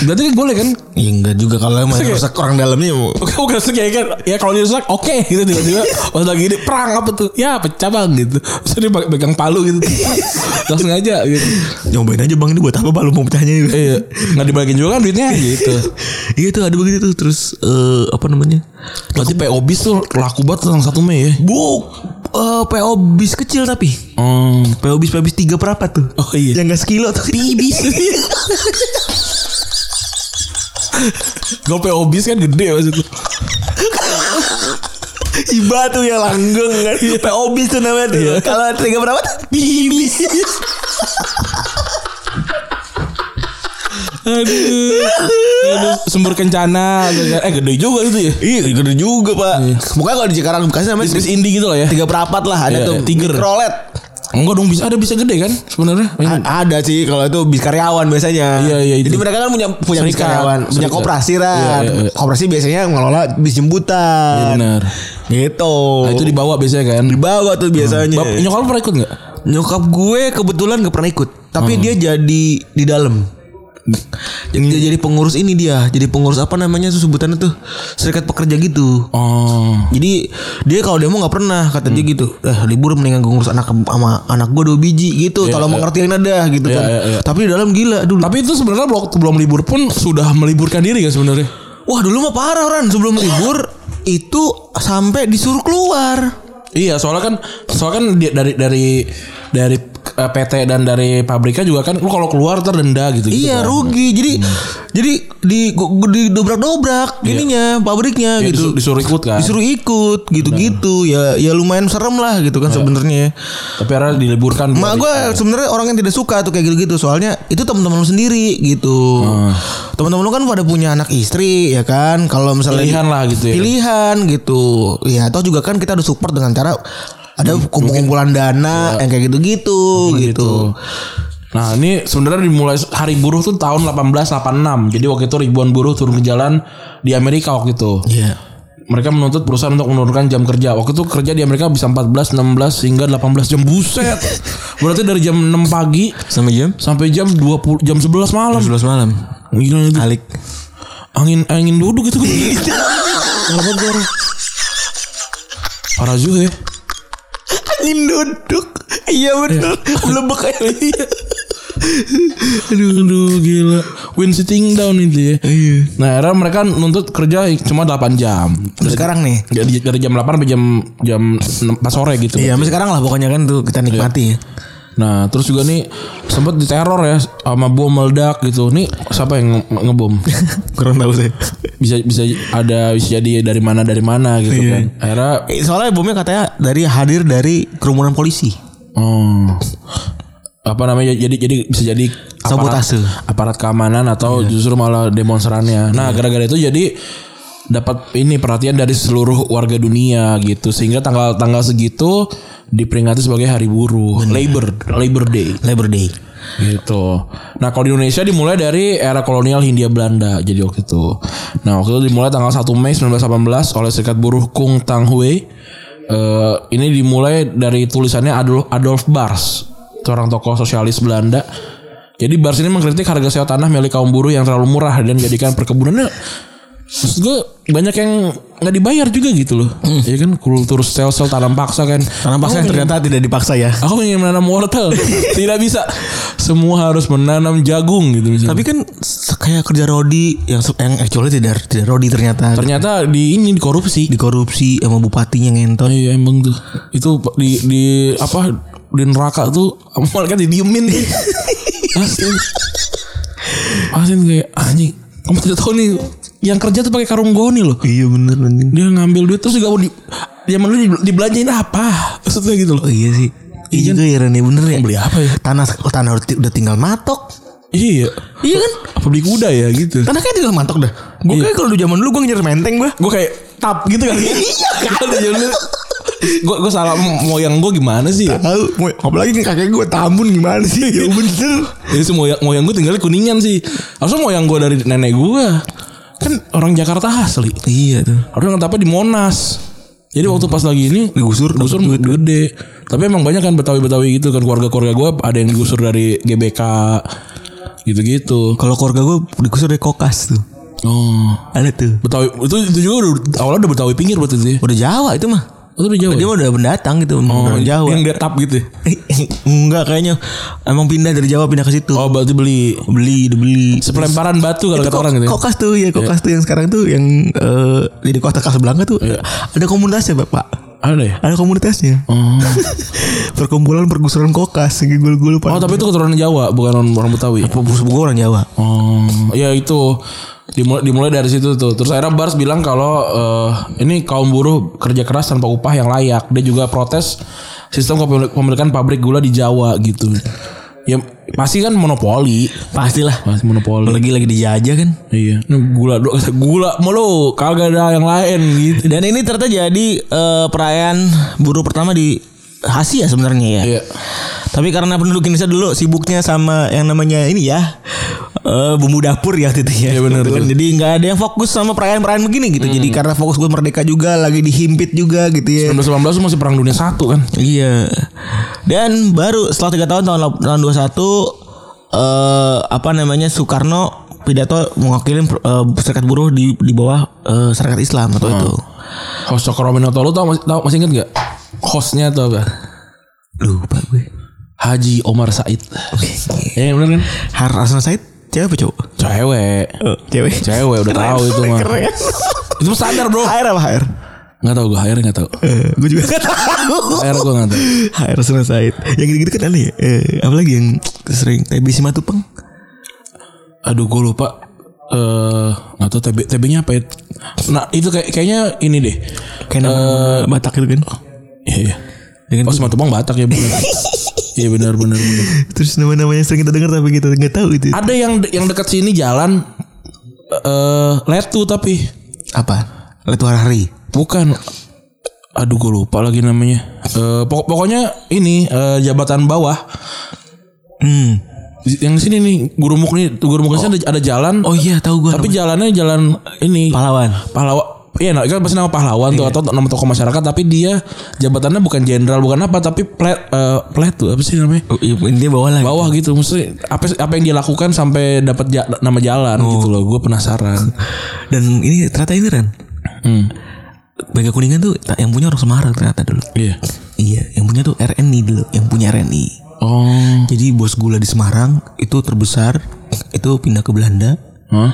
S2: Berarti kan boleh kan?
S3: <laughs> Ya enggak juga kalau emang
S2: Oke.
S3: rusak ya? orang dalamnya mau.
S2: Oke, oke, rusak ya kan? Ya kalau dia rusak, oke gitu <laughs> tiba-tiba pas lagi ini perang apa tuh? Ya pecah bang gitu. Terus dia pe- pegang palu <laughs> gitu. Langsung aja gitu.
S3: Nyobain aja bang ini buat apa balu mau pecahnya gitu.
S2: Iya, nggak dibagiin juga kan duitnya gitu.
S3: <laughs> Iya tuh ada begitu tuh terus eh, apa namanya?
S2: Berarti PO bis tuh laku banget tanggal 1 Mei ya.
S3: Buk eh, PO bis kecil tapi
S2: Hmm.
S3: PO bis PO bis tiga berapa tuh?
S2: Oh iya.
S3: Yang gak sekilo tuh <laughs> bis.
S2: Kalau PO bis kan gede maksudnya.
S3: Iba tuh yang langgeng kan. Iya. PO bis tuh namanya tuh. Kalau tiga berapa tuh? Bis. <laughs>
S2: Aduh. Aduh, sumber kencana gitu kan. Eh gede juga itu ya.
S3: Iya gede juga pak.
S2: Iya.
S3: Pokoknya kalau di Cikarang Bekasi namanya
S2: Bis indie gitu loh ya.
S3: tiga berapat lah ada
S2: Iya,
S3: tuh.
S2: iya, tiger.
S3: Mikrolet.
S2: Enggak dong bisa ada bisa gede kan sebenarnya.
S3: A- ada sih kalau itu bis karyawan biasanya.
S2: Iya, iya, itu.
S3: Jadi mereka kan punya punya bis
S2: Serikat.
S3: karyawan, punya
S2: Serikat.
S3: koperasi kan.
S2: Iya, iya, iya.
S3: Koperasi biasanya ngelola bis
S2: Iya,
S3: jemputan.
S2: benar.
S3: gitu.
S2: Nah, itu dibawa biasanya kan.
S3: dibawa tuh biasanya.
S2: Bap, nyokap lu pernah ikut enggak?
S3: Nyokap gue kebetulan gak pernah ikut, tapi
S2: Hmm.
S3: dia jadi di dalam.
S2: Iya.
S3: Jadi dia jadi pengurus ini dia, jadi pengurus apa namanya tuh sebutannya tuh serikat pekerja gitu.
S2: Oh.
S3: Jadi dia kalau demo nggak pernah kata
S2: Hmm.
S3: dia gitu. Eh libur mendingan gue ngurus anak sama anak gue dua biji gitu. Tolong mengertiin ada gitu
S2: Iya,
S3: kan.
S2: iya, iya.
S3: Tapi di dalam gila dulu.
S2: Tapi itu sebenarnya waktu belum libur pun sudah meliburkan diri kan sebenarnya.
S3: Wah dulu mah parah orang sebelum libur itu sampai disuruh keluar.
S2: Iya, soalnya kan soalnya kan dia- dari dari dari eh, PT dan dari pabriknya juga kan lu kalau keluar terdenda gitu gitu.
S3: Iya
S2: kan.
S3: rugi. Jadi jadi di di dobrak-dobrak ininya pabriknya
S2: Ya, Iya.
S3: gitu.
S2: disuruh, disuruh ikut kan.
S3: disuruh ikut gitu-gitu ya ya lumayan serem lah gitu
S2: Iya.
S3: kan sebenarnya
S2: Tapi akhirnya diliburkan.
S3: Mak gue sebenarnya orang yang tidak suka tuh kayak gitu-gitu soalnya itu teman-teman lu sendiri gitu teman-teman lu kan pada punya anak istri ya kan kalau misalnya
S2: Pilihan lah gitu ya.
S3: pilihan gitu ya atau juga kan kita ada support dengan cara ada kumpulan dana yang kayak gitu-gitu Ya. gitu
S2: Nah ini sebenarnya dimulai hari buruh tuh tahun 1886. Jadi waktu itu ribuan buruh turun ke jalan di Amerika waktu itu.
S3: Iya
S2: Mereka menuntut perusahaan untuk menurunkan jam kerja. Waktu itu kerja di Amerika bisa 14, 16 hingga 18 jam.
S3: <laughs>
S2: Buset. Berarti dari jam 6 pagi
S3: sampai jam
S2: sampai jam 20 jam 11 malam.
S3: 11 malam
S2: Gila itu.
S3: alik
S2: Angin angin duduk gitu. <laughs> itu. Kenapa gue orang? Parah juga ya.
S3: angin duduk iya bener <laughs> melebek aja
S2: aduh, aduh gila. Win sitting down itu ya. Nah, era mereka nuntut kerja cuma 8 jam.
S3: Terus sekarang nih
S2: Dari, dari jam 8 sampai jam jam 6 pas sore gitu.
S3: Iya, sampai sekarang lah pokoknya kan tuh kita nikmati ya. <laughs>
S2: Nah, terus juga nih sempat diteror ya sama bom meledak gitu. Nih siapa yang nge- ngebom?
S3: Kurang tahu sih.
S2: Bisa bisa ada bisa jadi dari mana dari mana gitu kan. Akhirnya
S3: Eh, Soalnya bomnya katanya dari hadir dari kerumunan polisi.
S2: oh, apa namanya jadi jadi bisa jadi aparat,
S3: Sabotase.
S2: aparat keamanan atau justru malah demonstrannya. Nah, gara-gara itu jadi dapat ini perhatian dari seluruh warga dunia gitu sehingga tanggal-tanggal segitu diperingati sebagai hari buruh labor labor day
S3: Labor Day.
S2: gitu. Nah kalau di Indonesia dimulai dari era kolonial Hindia Belanda jadi waktu itu. Nah waktu itu dimulai tanggal 1 Mei 1918 oleh serikat buruh Kung Tang Hui. Eh, ini dimulai dari tulisannya Adolf, Adolf Bars, seorang tokoh sosialis Belanda. Jadi Bars ini mengkritik harga sewa tanah milik kaum buruh yang terlalu murah dan jadikan perkebunannya Maksud gue banyak yang nggak dibayar juga gitu loh. Ya kan kultur sel-sel tanam paksa kan.
S3: Hmm. Tanam paksa yang ternyata tidak dipaksa ya.
S2: Aku ingin menanam wortel Tidak bisa Semua harus menanam jagung gitu misalnya.
S3: Tapi kan se- kayak kerja Rodi yang se- yang actually tidak tidak Rodi ternyata.
S2: Ternyata di ini dikorupsi
S3: dikorupsi sama bupatinya ngentot.
S2: Iya emang tuh Itu di, di apa Di neraka tuh Malaikat didiemin Asin Asin kayak Anjing Kamu tidak tahu nih Yang kerja tuh pakai karung goni loh
S3: Iya bener anjing.
S2: Dia ngambil duit Terus juga mau di Zaman dulu di- dibelanjain apa Maksudnya gitu loh
S3: Oh iya sih. Iya juga ya Ren, ya, bener ya.
S2: Beli apa ya?
S3: Tanah oh, tanah udah ti- udah tinggal matok.
S2: Iya
S3: Iya kan?
S2: Apa beli kuda ya gitu
S3: Tanah kan tinggal matok dah. Gue
S2: Iya.
S3: kayak kalau dulu zaman dulu gue ngejar menteng gue.
S2: gue kayak tap gitu kan iya gue gue salah moyang gue gimana sih ya?
S3: Tahu, Moy. apalagi kan kakek gue tambun gimana sih? Ya bener.
S2: jadi si moyang moyang gue tinggalnya kuningan sih harusnya moyang gue dari nenek gue kan orang Jakarta asli
S3: Iya tuh.
S2: orang ngetapnya di Monas jadi waktu pas lagi ini
S3: Digusur,
S2: digusur gede. Tapi emang banyak kan Betawi-Betawi gitu kan keluarga-keluarga gue ada yang digusur dari GBK gitu-gitu.
S3: Kalau keluarga gue digusur dari kokas tuh.
S2: Oh,
S3: Ada tuh.
S2: Betawi itu itu juga udah, awalnya udah Betawi pinggir buat itu ya.
S3: Udah Jawa itu mah.
S2: Itu udah Jawa.
S3: Dia
S2: ya?
S3: mah udah pendatang gitu,
S2: Oh,
S3: orang Jawa.
S2: Yang dia tap gitu. ya?
S3: <laughs> Enggak kayaknya emang pindah dari Jawa pindah ke situ.
S2: Oh, berarti beli
S3: Beli, dibeli.
S2: Sepelemparan batu kalau kata orang gitu ya.
S3: Kokas tuh ya, kokas tuh yang sekarang tuh yang eh, di kota Casablanca tuh ada komunitasnya Bapak.
S2: Ada ya?
S3: Ada komunitasnya. <laughs>
S2: Oh.
S3: Perkumpulan pergusuran kokas, gue gue lupa.
S2: Oh tapi itu keturunan Jawa bukan orang, orang Betawi.
S3: buku orang Jawa.
S2: Oh ya itu dimulai, dimulai dari situ tuh. Terus akhirnya Bars bilang kalau eh, ini kaum buruh kerja keras tanpa upah yang layak. Dia juga protes sistem kepemil- kepemilikan pabrik gula di Jawa gitu. Ya pasti kan monopoli.
S3: Pastilah.
S2: Pasti monopoli.
S3: Lagi lagi dijajah kan.
S2: Iya. Ini gula do- gula mulu kagak ada yang lain gitu.
S3: Dan ini ternyata jadi eh, perayaan buruh pertama di Asia sebenarnya ya.
S2: Iya.
S3: Tapi karena penduduk Indonesia dulu sibuknya sama yang namanya ini ya eh, bumbu dapur ya gitu ya.
S2: Iya, benar, Hmm.
S3: Kebetulan.
S2: benar.
S3: Jadi nggak ada yang fokus sama perayaan-perayaan begini gitu. Jadi karena fokus gue merdeka juga lagi dihimpit juga gitu ya.
S2: 1919 tuh masih perang dunia satu kan.
S3: Iya. Dan baru setelah tiga tahun tahun lap- tahun 21 eh apa namanya Soekarno pidato mewakili eh, serikat buruh di di bawah eh, serikat Islam
S2: Hmm.
S3: atau itu.
S2: Host Cokro Aminoto lu tau, masih- tau masih inget gak? Hostnya tuh apa?
S3: Lupa gue.
S2: Haji Omar Said. Ya bener kan?
S3: Har Asma Said cewek apa cowok?
S2: Cewek.
S3: Cewek.
S2: Cewek udah tahu itu mah.
S3: Keren.
S2: Itu mah standar, Bro.
S3: HR apa HR?
S2: Enggak tahu gue, akhirnya enggak tahu.
S3: gue juga gak tahu.
S2: Akhir gue enggak tahu.
S3: HR Asma Said. Yang gitu-gitu kan aneh ya. Eh, apalagi yang sering TB Simatupang.
S2: Aduh, gue lupa eh nggak tahu TB TB-nya apa ya? Nah, itu kayak kayaknya ini deh.
S3: Kayak nama Batak itu kan.
S2: Iya, iya.
S3: Ya kan?
S2: Oh, Simatupang Batak ya <laughs> benar. Iya benar benar benar.
S3: Terus nama-namanya sering kita dengar tapi kita nggak tahu itu.
S2: Ada yang de- yang dekat sini jalan eh Letu tapi
S3: Apa? Letu Harari.
S2: bukan aduh gue lupa lagi namanya. Eh pokok- pokoknya ini eh, jabatan bawah
S3: Hmm.
S2: yang sini nih gurumuk nih gurumuk sini ada, ada jalan
S3: Oh iya tahu gue.
S2: tapi jalannya jalan ini
S3: pahlawan.
S2: pahlawan iya nah, kan pasti nama pahlawan tuh atau nama tokoh masyarakat tapi dia jabatannya bukan jenderal bukan apa tapi plat eh, plat tuh apa sih namanya
S3: Intinya bawah lah.
S2: bawah gitu mesti apa apa yang dia lakukan sampai dapat ja- nama jalan gitu loh gue penasaran
S3: Dan ini ternyata ini Ren.
S2: hmm.
S3: Bega Kuningan tuh yang punya orang Semarang ternyata dulu.
S2: iya
S3: Iya, yang punya tuh RNI dulu, yang punya RNI.
S2: oh
S3: Jadi bos gula di Semarang itu terbesar, itu pindah ke Belanda,
S2: Hah?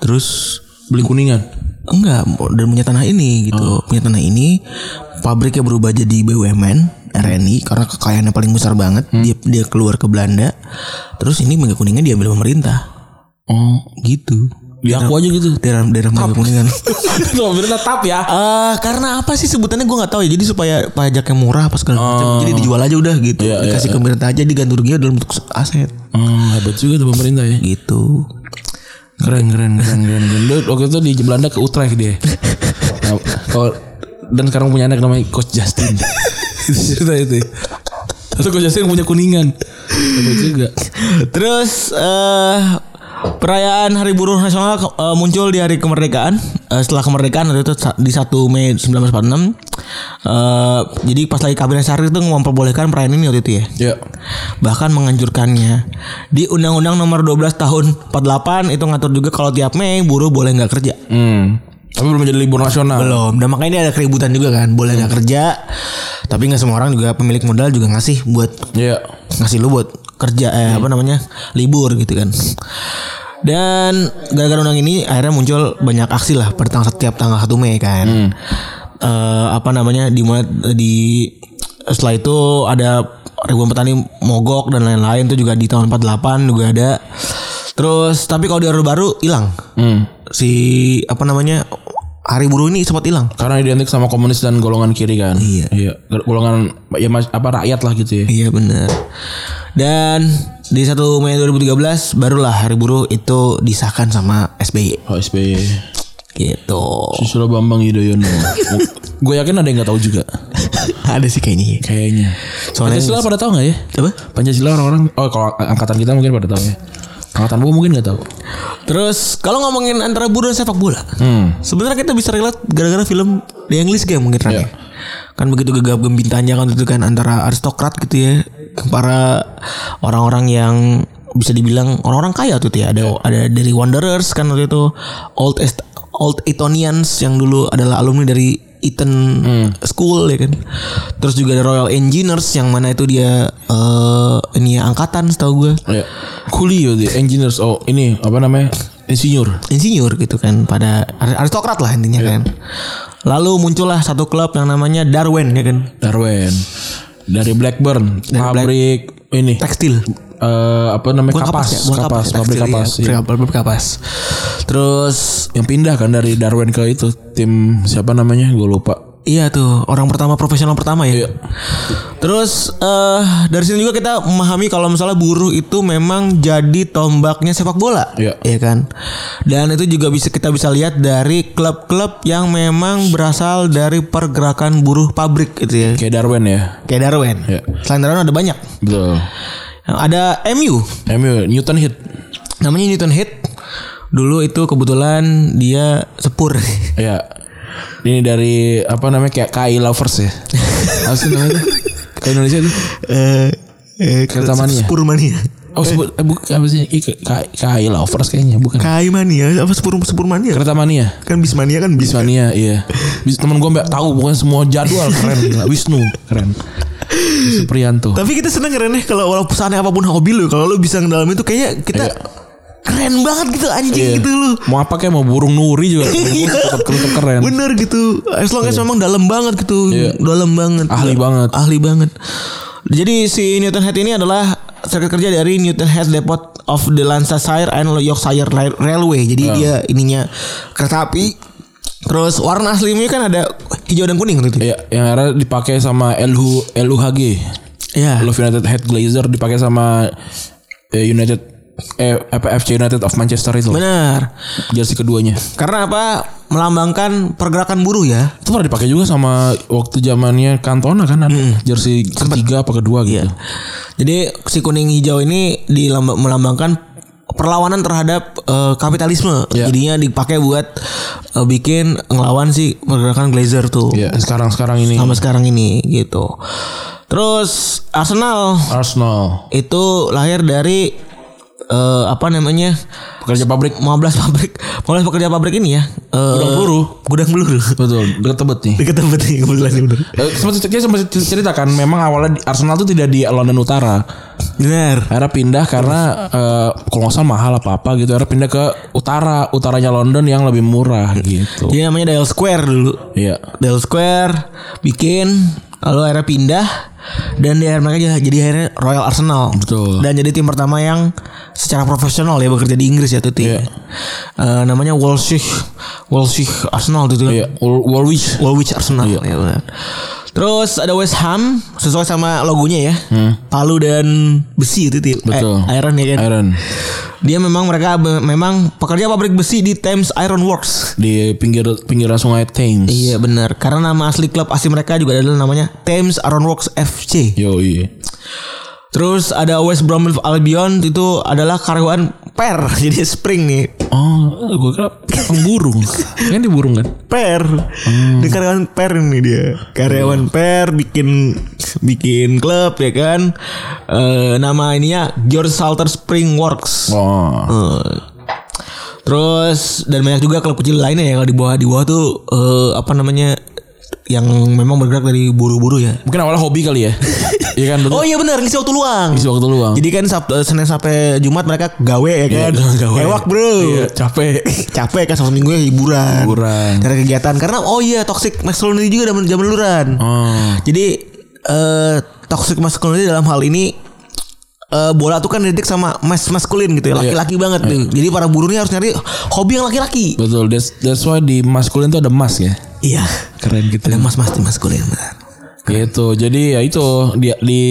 S3: terus
S2: beli kuningan
S3: enggak dan punya tanah ini
S2: Oh.
S3: gitu, punya tanah ini pabriknya berubah jadi BUMN RNI karena kekayaannya paling besar banget,
S2: Hmm.
S3: dia dia keluar ke Belanda, terus ini Mega Kuningan diambil pemerintah,
S2: oh
S3: gitu.
S2: ya aku aja gitu
S3: Daerah daerah Mega Kuningan.
S2: <laughs> <laughs> Tuh, bener tap ya
S3: Eh, karena apa sih sebutannya gue nggak tahu ya. Jadi supaya pajaknya murah apa segala macam. Jadi dijual aja udah gitu.
S2: Oh. Iya, iya,
S3: Dikasih ke
S2: Oh,
S3: pemerintah aja diganti ruginya dalam bentuk aset
S2: hmm, hebat juga tuh pemerintah ya
S3: gitu.
S2: Keren keren keren keren. keren. Lu waktu itu di Belanda ke Utrecht dia. Nah, kalau- dan sekarang punya anak namanya Coach Justin. <laughs> itu cerita itu. ya? Atau Coach Justin punya kuningan. Itu juga.
S3: Terus eh perayaan Hari Buruh Nasional ke- eh, muncul di hari kemerdekaan. Eh, setelah kemerdekaan itu sa- di 1 Mei 1946. Eh, jadi pas lagi kabinet Sarif itu memperbolehkan perayaan ini waktu itu ya.
S2: Ya.
S3: Bahkan menganjurkannya di Undang-Undang Nomor 12 Tahun 48 itu ngatur juga kalau tiap Mei buruh boleh nggak kerja.
S2: Hmm. Tapi belum jadi libur nasional.
S3: Belum. Dan makanya ini ada keributan juga kan. Boleh nggak kerja. Tapi nggak semua orang juga pemilik modal juga ngasih buat
S2: Iya.
S3: ngasih lu buat kerja eh apa namanya libur gitu kan dan gara-gara undang ini akhirnya muncul banyak aksi lah pada tang- setiap tanggal 1 Mei kan Eh, apa namanya dimulai di setelah itu ada ribuan petani mogok dan lain-lain itu juga di tahun 48 juga ada terus tapi kalau di orde baru hilang
S2: Hmm.
S3: si apa namanya hari buruh ini sempat hilang
S2: Karena identik sama komunis dan golongan kiri kan.
S3: Iya.
S2: Iya. Golongan ya mas, apa rakyat lah gitu ya.
S3: Iya benar. Dan di 1 Mei 2013 barulah Hari Buruh itu disahkan sama SBY
S2: Oh, SBY.
S3: gitu. <laughs>
S2: Susilo Bambang <laughs> Yudhoyono. Gue yakin ada yang nggak tahu juga.
S3: Ada sih kayaknya.
S2: Kayaknya.
S3: Soalnya-
S2: Pancasila pada tahu nggak ya?
S3: Coba.
S2: Pancasila orang-orang oh kalau angkatan kita mungkin pada tahu ya. Angkatan gua mungkin nggak tahu.
S3: Terus kalau ngomongin antara buruh dan sepak bola,
S2: Hmm.
S3: sebenarnya kita bisa relate gara-gara film The English Game mungkin Rani.
S2: Iya.
S3: Kan begitu gegap gembintanya kan itu kan antara aristokrat gitu ya, para orang-orang yang bisa dibilang orang-orang kaya tuh ya. Ada ada dari Wanderers kan waktu itu Old Est- Old Etonians yang dulu adalah alumni dari Eton School ya kan. Terus juga ada Royal Engineers yang mana itu dia eh ini ya, angkatan setahu gue.
S2: Ya. Kuli ya, the engineers. Oh, ini apa namanya? Insinyur.
S3: insinyur gitu kan pada ar- aristokrat lah intinya
S2: Iya.
S3: kan. Lalu muncullah satu klub yang namanya Darwin ya kan.
S2: Darwin. Dari Blackburn, pabrik ini
S3: Tekstil.
S2: eh, apa namanya?
S3: Bukan
S2: kapas,
S3: ya? Bukan
S2: kapas, pabrik
S3: Tekstil, iya.
S2: kapas. iya.
S3: Pabrik- Pabrik kapas. Terus
S2: Yang pindah kan dari Darwin ke itu tim siapa namanya? Gue lupa.
S3: Iya tuh orang pertama profesional pertama ya.
S2: Iya.
S3: Terus eh dari sini juga kita memahami kalau misalnya buruh itu memang jadi tombaknya sepak bola,
S2: Iya.
S3: kan? Dan itu juga bisa kita bisa lihat dari klub-klub yang memang berasal dari pergerakan buruh pabrik gitu ya.
S2: Kayak Darwin ya.
S3: Kayak Darwin.
S2: Iya.
S3: Selain Darwin ada banyak.
S2: Betul.
S3: Ada MU.
S2: MU Newton hit.
S3: Namanya Newton Head. Dulu itu kebetulan dia <laughs> sepur.
S2: Ya. Ini dari apa namanya kayak KI lovers ya. Apa sih namanya? Ke Indonesia tuh.
S3: Eh, eh,
S2: Kereta mania.
S3: Sepur mania.
S2: Oh sebut eh, bukan apa sih? Ih, K- K- KI lovers kayaknya bukan.
S3: Kai mania apa sepur sepur mania?
S2: Kereta mania.
S3: Kan bismania kan bis.
S2: Bismania iya. Bis, temen gue mbak tahu bukan semua jadwal keren. Gila. Wisnu keren. Wisnu Prianto.
S3: Tapi kita seneng keren ya kalau walaupun seaneh apapun hobi lu kalau lu bisa ngedalamin itu kayaknya kita
S2: Iya.
S3: keren banget gitu anjing
S2: Iya.
S3: gitu lu.
S2: Mau apa kayak mau burung nuri juga.
S3: <laughs> Iya.
S2: tetap tetap keren.
S3: Bener gitu. As long as memang dalam banget gitu.
S2: Kan. Iya.
S3: Dalam banget.
S2: Ahli banget.
S3: Ahli banget. Jadi si Newton Head ini adalah serikat kerja dari Newton Head Depot of the Lancashire and Yorkshire Rail- Railway. Jadi
S2: Iya.
S3: dia ininya kereta api. Terus warna aslinya kan ada hijau dan kuning gitu.
S2: Iya, yang akhirnya dipakai sama LU LUHG.
S3: Iya.
S2: Love United Head Glazer dipakai sama eh, United eh, apa, FC United of Manchester itu.
S3: Bener.
S2: Jersey keduanya.
S3: Karena apa? Melambangkan pergerakan buruh ya.
S2: Itu pernah dipakai juga sama waktu zamannya Cantona kan ada
S3: Hmm.
S2: jersey ketiga apa kedua gitu.
S3: Jadi si kuning hijau ini dilamba- melambangkan perlawanan terhadap eh, kapitalisme.
S2: Iya.
S3: Jadinya dipakai buat eh, bikin ngelawan si pergerakan Glazer tuh.
S2: Iya, sekarang-sekarang ini
S3: Sama sekarang ini gitu. Terus Arsenal
S2: Arsenal
S3: itu lahir dari eh, apa namanya?
S2: pekerja pabrik
S3: 15 pabrik, 15 pekerja pabrik ini ya. Eh,
S2: Gudang peluru.
S3: Gudang peluru.
S2: betul deket tebet
S3: <laughs>
S2: nih.
S3: Deket tempat ini kebetulan ini bener.
S2: Eh, sempat dia sempat cerita kan memang awalnya di- Arsenal tuh tidak di London Utara.
S3: Bener.
S2: Akhirnya pindah karena eh, kalau nggak salah mahal apa apa gitu. Akhirnya pindah ke utara, utaranya London yang lebih murah gitu.
S3: Jadi namanya Dial Square dulu.
S2: Iya.
S3: Del Square bikin lalu akhirnya pindah dan di akhirnya mereka jadi, jadi akhirnya Royal Arsenal
S2: Betul.
S3: dan jadi tim pertama yang secara profesional ya bekerja di Inggris ya tuh
S2: Iya.
S3: namanya Walshy Walshy Arsenal tuh
S2: Iya, Wal- Walwich.
S3: Walwich Arsenal ya benar. Terus ada West Ham sesuai sama logonya ya. Palu dan besi itu Tio.
S2: Hmm. Betul.
S3: Eh, iron ya kan.
S2: Iron
S3: Dia memang mereka be- memang pekerja pabrik besi di Thames Iron Works.
S2: di pinggir pinggiran Sungai Thames.
S3: Iya benar. Karena nama asli klub asli mereka juga adalah namanya Thames Iron Works FC.
S2: Yo iya.
S3: Terus ada West Bromwich Albion itu adalah karyawan per. <laughs> Jadi spring nih.
S2: Oh, gue kira pengburung.
S4: Kan di burung kan?
S3: Per. Ini karyawan per ini dia. Karyawan per bikin bikin klub ya kan. Eh nama ininya George Salter Spring Works.
S2: Oh.
S3: Eh, Terus dan banyak juga klub kecil lainnya ya kalau di bawah di bawah tuh eh, apa namanya yang memang bergerak dari buru-buru ya.
S4: Mungkin awalnya hobi kali ya. Iya kan betul.
S3: Oh iya benar ngisi waktu luang.
S4: Isi waktu luang.
S3: Jadi kan Sabtu Senin sampai Jumat mereka gawe ya
S2: Iya,
S3: kan.
S4: gawe.
S3: Ewak bro.
S4: Iya, capek.
S3: Capek kan sama minggunya hiburan.
S4: Hiburan.
S3: Cari kegiatan karena oh iya toxic masculinity juga zaman zaman duluran.
S2: Oh.
S3: Jadi eh toxic masculinity dalam hal ini eh bola tuh kan didetek sama mas maskulin gitu ya laki-laki banget nih. Jadi para buruh ini harus nyari hobi yang laki-laki.
S2: Betul. That's, that's why di maskulin tuh ada mas ya.
S3: Iya.
S2: Keren gitu.
S3: Ada mas-mas di maskulin. benar.
S2: Gitu. Jadi ya itu di, di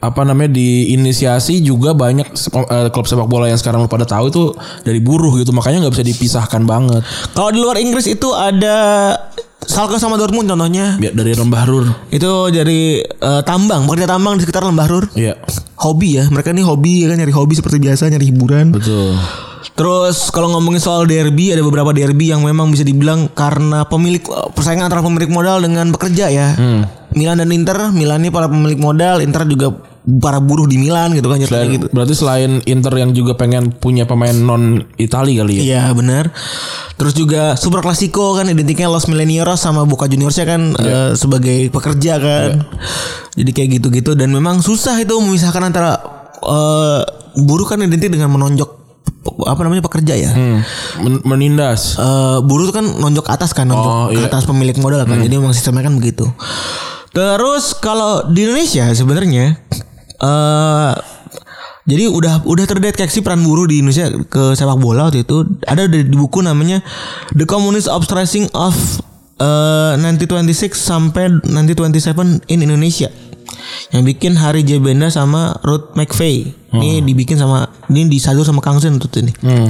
S2: apa namanya diinisiasi juga banyak sepa- eh, klub sepak bola yang sekarang lu pada tahu itu dari buruh gitu. Makanya nggak bisa dipisahkan banget.
S3: Kalau di luar Inggris itu ada Salke sama Dortmund contohnya.
S2: Biar dari Lembah Rur.
S3: Itu dari eh, tambang, pekerja tambang di sekitar Lembah Rur.
S2: Iya.
S3: Hobi ya, mereka ini hobi ya kan nyari hobi seperti biasa, nyari hiburan.
S2: Betul.
S3: Terus kalau ngomongin soal derby ada beberapa derby yang memang bisa dibilang karena pemilik eh, persaingan antara pemilik modal dengan pekerja ya.
S2: Hmm.
S3: Milan dan Inter, Milan ini para pemilik modal, Inter juga para buruh di Milan gitu kan ceritanya
S2: Dan
S3: gitu.
S2: berarti selain Inter yang juga pengen punya pemain non Itali kali ya.
S3: Iya benar. Terus juga Super Clasico kan identiknya Los Milenieros sama Boca Juniorsnya kan eh, sebagai pekerja kan. Jadi kayak gitu-gitu dan memang susah itu memisahkan antara eh buruh kan identik dengan menonjok pe- apa namanya pekerja ya.
S2: Hmm. Men- menindas.
S3: Eh, buruh tuh kan nonjok ke atas kan nonjok
S2: Oh,
S3: ke
S2: iya.
S3: atas pemilik modal kan jadi memang sistemnya kan begitu terus kalau di Indonesia sebenarnya eh jadi udah udah terdeteksi peran buruh di Indonesia ke sepak bola waktu itu ada di, di buku namanya The Communist Uprising of eh, 1926 sampai 1927 in Indonesia yang bikin Hari J Benda sama Ruth McVeigh
S2: Oh.
S3: ini dibikin sama ini disadur sama Kang Sen tuh ini
S2: Hmm.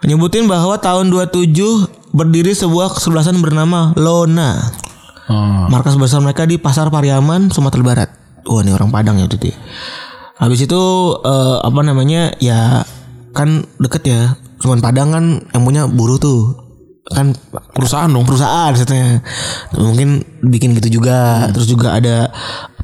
S3: Menyebutin bahwa tahun 27 berdiri sebuah kesebelasan bernama Lona.
S2: Oh.
S3: Markas besar mereka di Pasar Pariaman, Sumatera Barat. Wah, ini orang Padang ya itu dia. Habis itu eh, apa namanya? Ya kan deket ya. Cuman Padang kan yang punya buruh tuh. Kan
S2: Perusahaan dong.
S3: perusahaan setnya mungkin bikin gitu juga
S2: Hmm.
S3: terus juga ada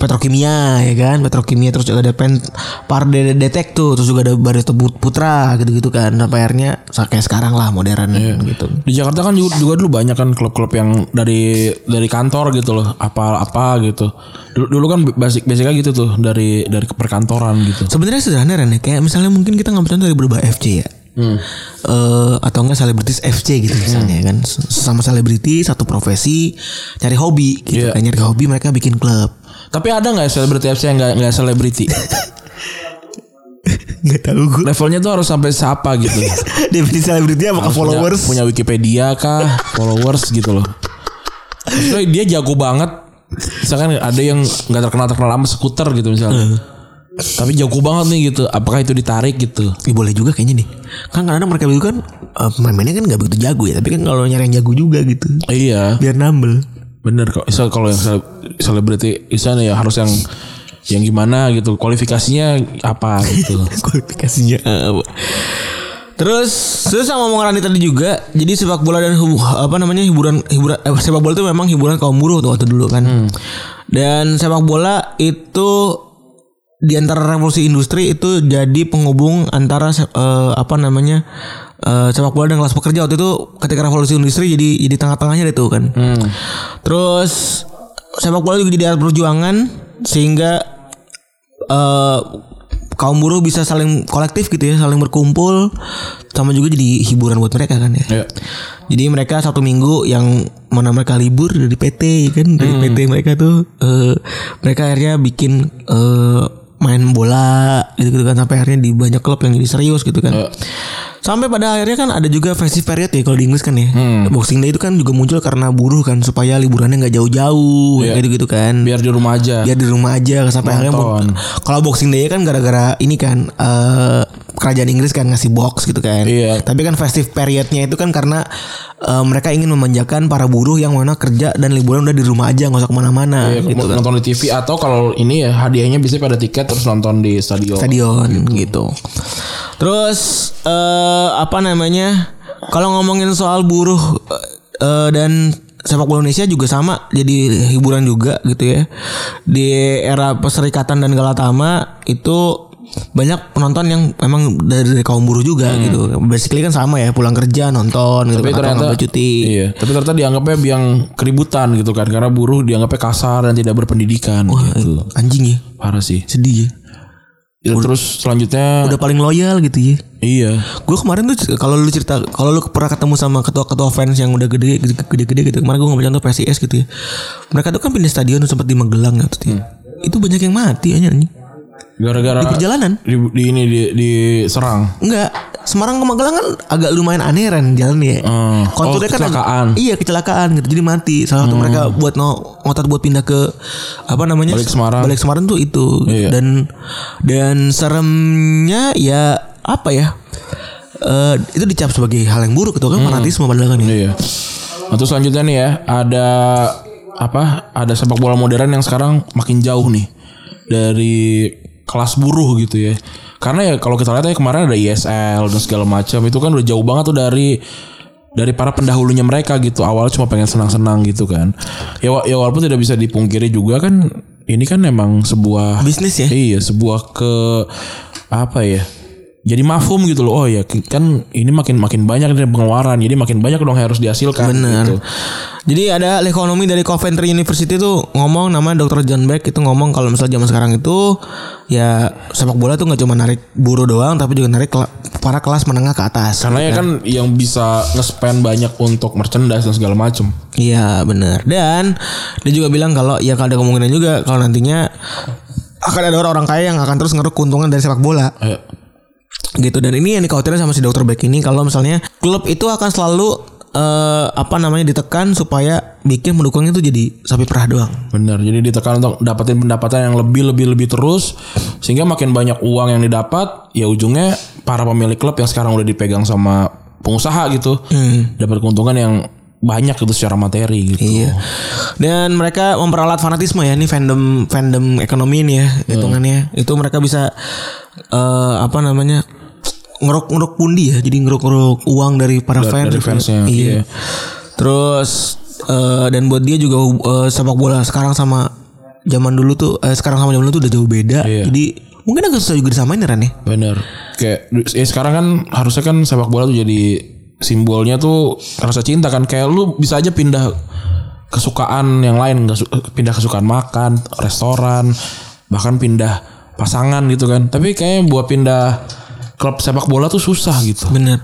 S3: petrokimia ya kan petrokimia terus juga ada pen parde detek tuh terus juga ada barito Put- putra gitu gitu kan sampai akhirnya kayak sekarang lah modern
S2: Iya.
S3: gitu
S2: Di Jakarta kan juga, juga dulu banyak kan klub-klub yang dari dari kantor gitu loh, apa-apa gitu. Dulu, dulu kan basic basicnya gitu tuh dari dari perkantoran gitu.
S3: sebenarnya sederhana Ren ya kayak misalnya mungkin kita nggak contoh dari berubah FC ya Eh, atau enggak selebritis FC gitu misalnya kan sama selebriti satu profesi cari hobi gitu
S2: Iya.
S3: kan nyari hobi mereka bikin klub
S2: Tapi ada nggak selebriti FC yang nggak nggak selebriti?
S3: nggak tahu gue
S2: Levelnya tuh harus sampai siapa gitu.
S3: <laughs> definisi selebriti apa
S2: Harus punya- punya, Wikipedia kah, <laughs> followers gitu loh. Maksudnya dia jago banget. Misalkan ada yang nggak terkenal terkenal sama skuter gitu misalnya. Tapi jago banget nih gitu. Apakah itu ditarik gitu?
S3: Ya boleh juga kayaknya nih. Kan kadang-kadang mereka itu kan eh, pemain-pemainnya kan nggak begitu jago ya, tapi kan kalau nyari yang jago juga gitu.
S2: Iya.
S3: Biar nambel.
S2: Bener kok. Misal kalau yang sele- selebriti misalnya ya harus yang yang gimana gitu. Kualifikasinya apa <laughs> gitu.
S3: Kualifikasinya Ah, apa? Terus terus sama omongan Rani tadi juga, jadi sepak bola dan hubu- apa namanya hiburan hiburan eh, sepak bola itu memang hiburan kaum buruh tuh waktu dulu kan. Dan sepak bola itu di antara revolusi industri itu jadi penghubung antara se- eh, apa namanya eh, sepak bola dan kelas pekerja waktu itu ketika revolusi industri jadi jadi tengah-tengahnya itu kan. Terus sepak bola juga jadi alat perjuangan sehingga eh kaum buruh bisa saling kolektif gitu ya, saling berkumpul, sama juga jadi hiburan buat mereka kan ya.
S2: Iya.
S3: Jadi mereka satu minggu yang mana mereka libur dari PT ya kan, dari
S2: Hmm.
S3: PT mereka tuh eh, mereka akhirnya bikin
S2: Iya.
S3: eh, main bola gitu, gitu kan sampai akhirnya di banyak klub yang jadi serius gitu kan. Sampai pada akhirnya kan ada juga festive period ya kalau di Inggris kan ya.
S2: Hmm.
S3: Boxing Day itu kan juga muncul karena buruh kan supaya liburannya nggak jauh-jauh
S2: Iya.
S3: gitu-gitu kan.
S2: biar di rumah aja
S3: Biar di rumah aja sampai akhirnya
S2: Iya. Nonton.
S3: mun- kalau Boxing Day kan gara-gara ini kan eh, kerajaan Inggris kan ngasih box gitu kan.
S2: Iya.
S3: Tapi kan festive periodnya itu kan karena eh, mereka ingin memanjakan para buruh yang mana kerja dan liburan udah di rumah aja nggak usah kemana-mana
S2: Iya,
S3: gitu kan.
S2: nonton di TV atau kalau ini ya hadiahnya bisa pada tiket terus nonton di stadion.
S3: stadion gitu. Terus eh apa namanya? Kalau ngomongin soal buruh eh, eh, dan sepak bola Indonesia juga sama jadi hiburan juga gitu ya. Di era Perserikatan dan Galatama itu banyak penonton yang emang dari, dari kaum buruh juga gitu. Basically kan sama ya, pulang kerja nonton gitu
S2: Hmm. Tapi
S3: kan, atau
S2: ternyata
S3: ngambil cuti.
S2: Iya, tapi ternyata dianggapnya yang keributan gitu kan karena buruh dianggapnya kasar dan tidak berpendidikan
S3: Wah,
S2: gitu.
S3: anjing ya,
S2: Parah sih.
S3: sedih ya.
S2: Ya, terus selanjutnya
S3: Udah paling loyal gitu ya.
S2: iya.
S3: Gue kemarin tuh kalau lu cerita kalau lu pernah ketemu sama ketua-ketua fans yang udah gede gede-gede gitu. Kemarin gue ngambil contoh PSIS gitu ya. Mereka tuh kan pindah stadion sempat di Magelang gitu ya. Itu banyak yang mati aja anjing.
S2: Gara-gara
S3: Di perjalanan.
S2: di, di ini di diserang.
S3: Enggak, Semarang ke Magelang kan agak lumayan aneh kan jalannya.
S2: Hmm.
S3: Konturnya
S2: Oh,
S3: kan agak-
S2: kecelakaan. Hmm.
S3: iya, kecelakaan gitu. Jadi mati. Salah satu mereka buat no, ngotot buat pindah ke apa namanya?
S2: Balik Semarang.
S3: Balik Semarang tuh itu.
S2: Iya.
S3: Dan dan seremnya ya apa ya? Eh, itu dicap sebagai hal yang buruk itu kan fanatisme padahal kan ya.
S2: Hmm. Iya. Nah, terus selanjutnya nih ya, ada apa? Ada sepak bola modern yang sekarang makin jauh nih dari kelas buruh gitu ya. Karena ya kalau kita lihat ya kemarin ada ISL dan segala macam itu kan udah jauh banget tuh dari dari para pendahulunya mereka gitu. Awalnya cuma pengen senang-senang gitu kan. Ya, wa- ya walaupun tidak bisa dipungkiri juga kan ini kan memang sebuah
S3: Bisnis ya.
S2: Iya, sebuah ke apa ya? Jadi mafum gitu loh. Oh ya, kan ini makin makin banyak nih pengeluaran. Jadi makin banyak dong yang harus dihasilkan.
S3: Bener.
S2: gitu.
S3: Jadi ada ahli ekonomi dari Coventry University tuh ngomong nama Dr. John Beck itu ngomong kalau misalnya zaman sekarang itu ya sepak bola tuh nggak cuma narik buruh doang tapi juga narik kela- para kelas menengah ke atas.
S2: Karena ya kan yang bisa nge-spend banyak untuk merchandise dan segala macem.
S3: Iya benar. Dan dia juga bilang kalau ya ada kemungkinan juga kalau nantinya akan ada orang-orang kaya yang akan terus ngeruk keuntungan dari sepak bola.
S2: Ayo.
S3: gitu dan ini yang dikhawatirin sama si dokter Beck ini kalau misalnya klub itu akan selalu eh, apa namanya ditekan supaya bikin pendukungnya itu jadi sapi perah doang
S2: Bener. Jadi ditekan untuk dapetin pendapatan yang lebih lebih lebih terus sehingga makin banyak uang yang didapat, ya ujungnya para pemilik klub yang sekarang udah dipegang sama pengusaha gitu, dapat keuntungan yang banyak gitu secara materi gitu.
S3: Iya. Dan mereka memperalat fanatisme ya ini fandom fandom ekonomi ini ya hitungannya. Itu mereka bisa eh apa namanya? ngeruk-ngeruk pundi ya. Jadi ngeruk-ngeruk uang dari para fans.
S2: dari fansnya,
S3: Iya.
S2: iya.
S3: Terus eh, dan buat dia juga eh, sepak bola sekarang sama zaman dulu tuh eh, sekarang sama zaman dulu tuh udah jauh beda.
S2: Iya.
S3: Jadi mungkin agak susah juga disamain ya Ran ya.
S2: Bener. Kayak ya sekarang kan harusnya kan sepak bola tuh jadi simbolnya tuh rasa cinta kan. Kayak lu bisa aja pindah kesukaan yang lain, nggak su- pindah kesukaan makan, restoran, bahkan pindah pasangan gitu kan. Tapi kayaknya buat pindah klub sepak bola tuh susah gitu.
S3: Bener.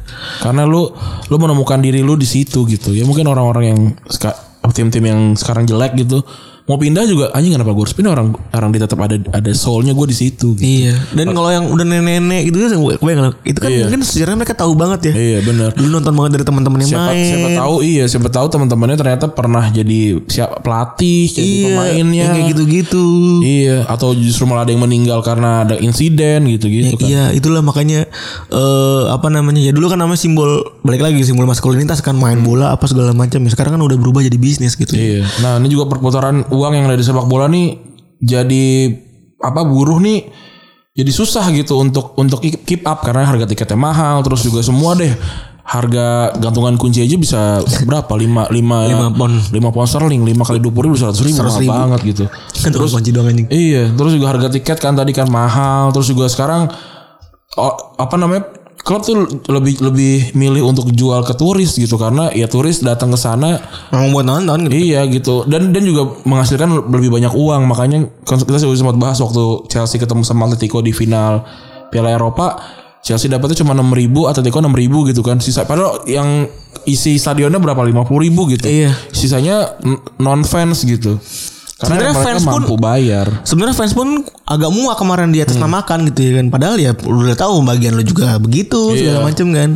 S2: Karena lu lu menemukan diri lu di situ gitu. Ya mungkin orang-orang yang seka- tim-tim yang sekarang jelek gitu mau pindah juga anjing kenapa gue harus pindah orang orang dia tetap ada ada soulnya gue di situ gitu.
S3: Iya. Dan kalau yang udah nenek-nenek gitu kan kebayang itu kan
S2: Iya.
S3: mungkin sejarah mereka tahu banget ya.
S2: Iya benar.
S3: Dulu nonton banget dari teman-teman yang
S2: siapa,
S3: main.
S2: siapa tahu iya siapa tahu teman-temannya ternyata pernah jadi siapa pelatih jadi pemainnya
S3: yang Iya, kayak gitu. gitu-gitu.
S2: iya atau justru malah ada yang meninggal karena ada insiden gitu-gitu kan
S3: Iya, itulah makanya eh apa namanya? Ya dulu kan namanya simbol balik lagi simbol maskulinitas kan main bola apa segala macam ya. Sekarang kan udah berubah jadi bisnis gitu. ya.
S2: Iya. nah ini juga perputaran uang yang ada di sepak bola nih jadi apa buruh nih jadi susah gitu untuk untuk keep up karena harga tiketnya mahal terus juga semua deh harga gantungan kunci aja bisa berapa lima lima
S3: Lima pound.
S2: lima pound sterling lima kali dua puluh ribu seratus ribu
S3: 100.000.
S2: mahal banget gitu
S3: Kan terus kunci doang anjing.
S2: Iya, terus juga harga tiket kan tadi kan mahal, terus juga sekarang o- apa namanya? Klub tuh lebih lebih milih untuk jual ke turis gitu karena ya turis datang ke sana
S3: Emang buat nonton gitu.
S2: iya gitu dan dan juga menghasilkan lebih banyak uang makanya kan kita sudah sempat bahas waktu Chelsea ketemu sama Atletico di final Piala Eropa Chelsea dapatnya cuma 6.000 Atletico 6.000 gitu kan sisa padahal yang isi stadionnya berapa 50.000 gitu
S3: Iya.
S2: sisanya non fans gitu Karena
S3: Sebenarnya
S2: mereka
S3: fans pun-
S2: mampu bayar.
S3: Sebenarnya fans pun agak muak kemarin di atas namakan gitu ya kan. Padahal ya udah tahu bagian lo juga begitu segala
S2: Iya.
S3: macem kan.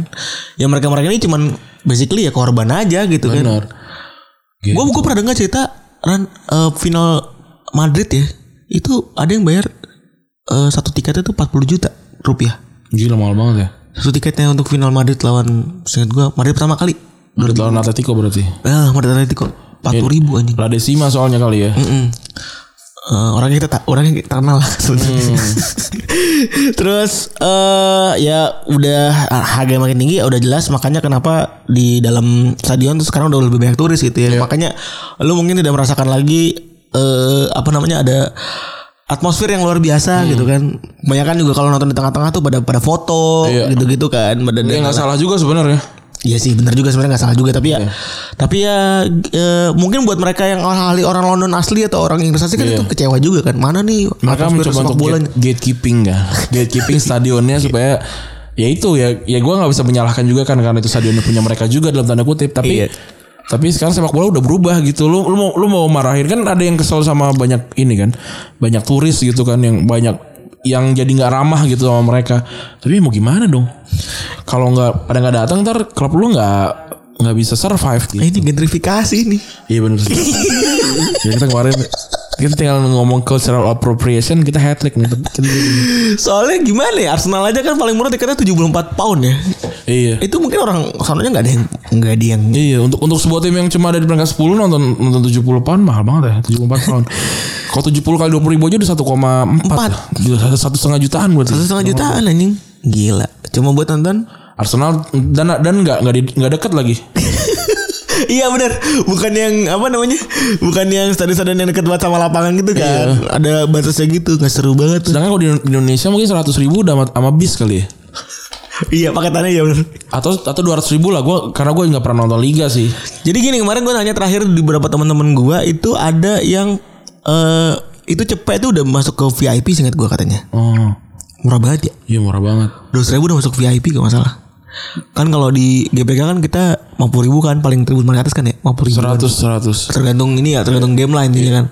S3: Ya mereka-mereka ini cuman basically ya korban aja gitu kan.
S2: Benar.
S3: Gue gue pernah dengar cerita Ran, eh, final Madrid ya. Itu ada yang bayar eh, satu tiketnya tuh 40 juta rupiah.
S2: Gila mahal banget ya.
S3: Satu tiketnya untuk final Madrid lawan seingat gue Madrid pertama kali.
S2: Madrid lawan Atletico berarti.
S3: Ah, Madrid Atletico 40 ribu anjing.
S2: La Decima soalnya kali ya.
S3: Mm. Eh, orangnya kita ta- orangnya kita kenal lah sebenarnya. Mm. <laughs> Terus eh ya udah harga makin tinggi ya udah jelas makanya kenapa di dalam stadion tuh sekarang udah lebih banyak turis gitu ya. Makanya lu mungkin tidak merasakan lagi eh apa namanya ada atmosfer yang luar biasa gitu kan. Kebanyakan juga kalau nonton di tengah-tengah tuh pada pada foto
S2: Iya.
S3: gitu-gitu kan, pada
S2: Ya nggak salah juga sebenarnya.
S3: Iya sih benar juga sebenarnya nggak salah juga tapi ya
S2: Iya.
S3: tapi ya eh, mungkin buat mereka yang orang ahli orang London asli atau orang Inggris asli kan itu kecewa juga kan mana nih
S2: Iya. Mereka
S3: atmosfer
S2: mencoba
S3: sepak
S2: untuk
S3: bolanya?
S2: gate- gatekeeping <laughs> kan. Gatekeeping stadionnya supaya ya itu ya ya gue nggak bisa menyalahkan juga kan karena itu stadionnya punya mereka juga dalam tanda kutip tapi
S3: Iya.
S2: tapi sekarang sepak bola udah berubah gitu lu lu mau lu mau marahin kan ada yang kesel sama banyak ini kan banyak turis gitu kan yang banyak yang jadi nggak ramah gitu sama mereka tapi mau gimana dong kalau nggak pada nggak datang ntar klub lu nggak nggak bisa survive gitu
S3: Nah, ini gentrifikasi nih.
S2: Iya <laughs> benar. ya, kita kemarin kita tinggal ngomong cultural appropriation kita hat trick nih. Kita-
S3: Soalnya gimana ya Arsenal aja kan paling murah tiketnya 74 pound ya.
S2: iya.
S3: Itu mungkin orang sononya nggak ada yang nggak ada yang
S2: Iya, untuk untuk sebuah tim yang cuma ada di peringkat 10 nonton nonton 70 pound mahal banget ya, 74 pound. <laughs> Kalau 70 kali 20 ribu aja udah 1,4. Gila, satu- satu setengah jutaan berarti.
S3: satu setengah jutaan anjing. Gila. Cuma buat nonton. <laughs>
S2: Arsenal dan dan nggak nggak di- nggak dekat lagi.
S3: Iya benar, bukan yang apa namanya, bukan yang stadion-stadion yang deket banget sama lapangan gitu kan,
S2: Iya.
S3: ada batasnya gitu, nggak seru banget. tuh.
S2: Sedangkan kalau di di Indonesia mungkin 100 ribu udah sama, sama bis kali ya.
S3: Iya paketannya ya benar.
S2: Atau atau 200 ribu lah gua karena gue nggak pernah nonton liga sih.
S3: Jadi gini kemarin gue nanya terakhir di beberapa teman-teman gue itu ada yang eh itu cepet itu udah masuk ke VIP singkat gue katanya
S2: Oh,
S3: murah banget ya
S2: iya murah banget.
S3: dua ribu udah masuk VIP gak masalah kan kalau di GBK kan kita 50 ribu kan paling tribun paling atas kan ya 50 ribu
S2: 100 100.
S3: tergantung ini ya tergantung game lah intinya kan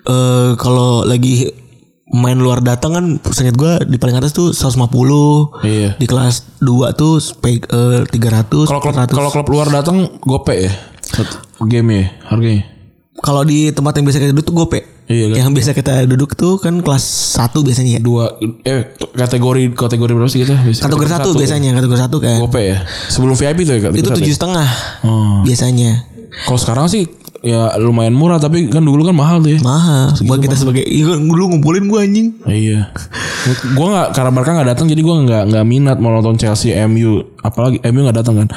S3: Eh kalau lagi main luar datang kan seingat gue di paling atas tuh 150
S2: Iya.
S3: di kelas 2 tuh spe- eh, 300
S2: Kalau klub
S3: 400.
S2: kalau klub luar datang gope ya. Satu game ya harganya.
S3: kalau di tempat yang biasa kita duduk tuh gope.
S2: Iya kan?
S3: Yang biasa kita duduk tuh kan kelas 1 biasanya ya.
S2: Dua eh kategori kategori berapa sih kita? Biasanya?
S3: Kategori 1 biasanya, kategori 1 kan.
S2: Gope ya. Sebelum VIP tuh ya kategori
S3: itu
S2: satu
S3: tujuh
S2: ya?
S3: setengah
S2: Oh.
S3: biasanya.
S2: Kalau sekarang sih ya lumayan murah tapi kan dulu kan mahal tuh ya.
S3: Mahal. Buat kita sebagai iya kan dulu ngumpulin gua anjing.
S2: Iya. gua nggak karena mereka nggak datang jadi gua nggak nggak minat mau nonton Chelsea MU apalagi MU nggak datang kan.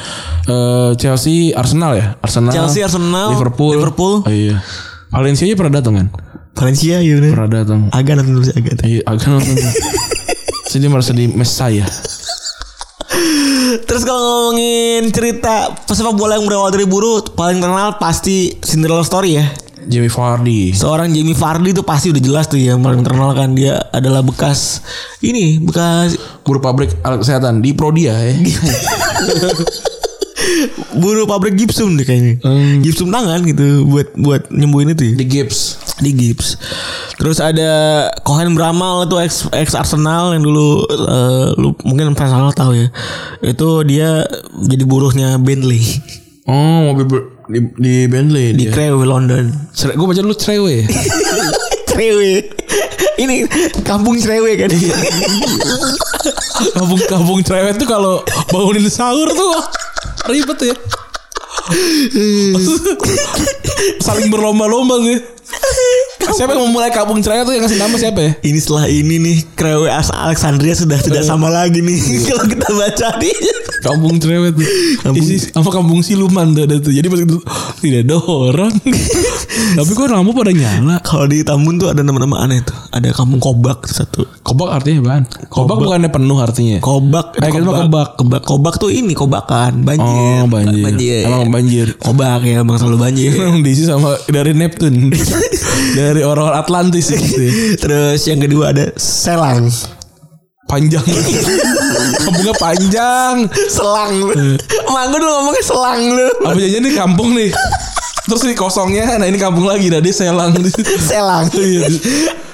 S2: Eh Chelsea Arsenal ya? Arsenal.
S3: Chelsea, Arsenal,
S2: Liverpool.
S3: Liverpool.
S2: Oh, iya. Valencia aja pernah datang kan?
S3: Valencia ya bener.
S2: Pernah datang.
S3: Agak nanti dulu sih, agak.
S2: Iya, agak nonton. <laughs> Jadi merasa di Messiah.
S3: Terus kalau ngomongin cerita pesepak bola yang berawal dari buruh paling terkenal pasti Cinderella Story ya.
S2: Jamie Vardy.
S3: Seorang Jamie Vardy itu pasti udah jelas tuh ya yang paling terkenal kan dia adalah bekas ini bekas
S2: Guru pabrik alat kesehatan di Prodia ya.
S3: buruh pabrik gipsum deh kayaknya
S2: Hmm.
S3: gipsum tangan gitu buat buat nyembuhin itu ya.
S2: <laughs> di Gibbs.
S3: di gips terus ada Cohen Bramal itu ex ex Arsenal yang dulu eh, lu mungkin fans Arsenal tahu ya itu dia jadi buruhnya Bentley
S2: Oh, mobil ber- di, di Bentley
S3: di
S2: dia.
S3: Crewe London
S2: <laughs> gue baca dulu <laughs> Trewe.
S3: Crewe ini kampung Crewe kan
S2: Iya. kampung kampung Trewe tuh kalau bangunin sahur tuh <laughs> ribet ya. Saling berlomba-lomba sih. Siapa yang memulai kampung Trewe tuh yang kasih nama siapa ya?
S3: ini setelah ini nih Crewe As- Alexandria sudah
S2: Iya.
S3: tidak sama lagi nih <laughs> kalau kita baca nih
S2: Kampung Cerewet tuh.
S3: Kampung-
S2: Isi, apa kampung siluman tuh ada tuh. Jadi pas itu tidak ada orang. Tapi kok lampu pada nyala.
S3: Kalau di Tambun tuh ada nama-nama aneh tuh. Ada kampung Kobak tuh satu.
S2: Kobak artinya apaan? Kobak, bukannya penuh artinya.
S3: Kobak,
S2: Eh, kita mah kobak.
S3: kobak, kobak tuh ini kobakan,
S2: Oh,
S3: banjir,
S2: banjir. Emang banjir.
S3: kobak ya, emang selalu <laughs> banjir.
S2: Emang diisi sama dari <laughs> Neptune. dari orang Atlantis gitu. ya.
S3: Terus yang kedua ada selang,
S2: Panjang. Kampungnya panjang.
S3: <laughs> selang. Emang gue dulu ngomongnya selang lu.
S2: Apa jadinya nih kampung nih? Terus ini kosongnya, nah ini kampung lagi, nah dia selang.
S3: Selang.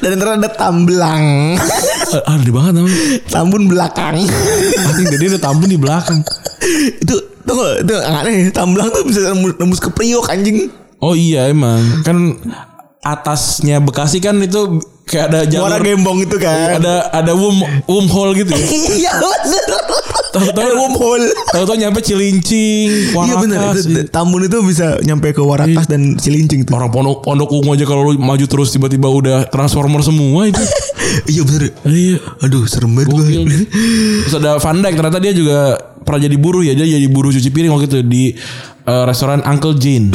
S3: Dan ntar ada <laughs> tamblang.
S2: Ah, Aneh banget namanya.
S3: Tambun belakang.
S2: Anjing, jadi ada tambun di belakang.
S3: <laughs> itu tuh itu yang aneh. ya. Tamblang tuh bisa nembus, nembus ke Priok anjing.
S2: Oh iya emang, kan atasnya Bekasi kan itu kayak ada jalur,
S3: Muara gembong itu kan.
S2: ada ada wom wormhole gitu. ya.
S3: <laughs> Iya bener.
S2: Tahu-tahu-
S3: Ada wormhole.
S2: Tahu-tahu nyampe Cilincing,
S3: Iya
S2: Warakas.
S3: bener itu, Iya. Tambun itu bisa nyampe ke Warakas dan Cilincing tuh.
S2: Orang pondok pondok ungu aja kalau lu maju terus tiba-tiba udah transformer semua itu.
S3: <laughs> Iya bener.
S2: Iya.
S3: Aduh serem banget gua. <laughs>
S2: Terus ada Van Dijk ternyata dia juga pernah jadi buruh ya dia jadi buruh cuci piring waktu itu di eh, restoran Uncle
S3: <laughs>
S2: Jane.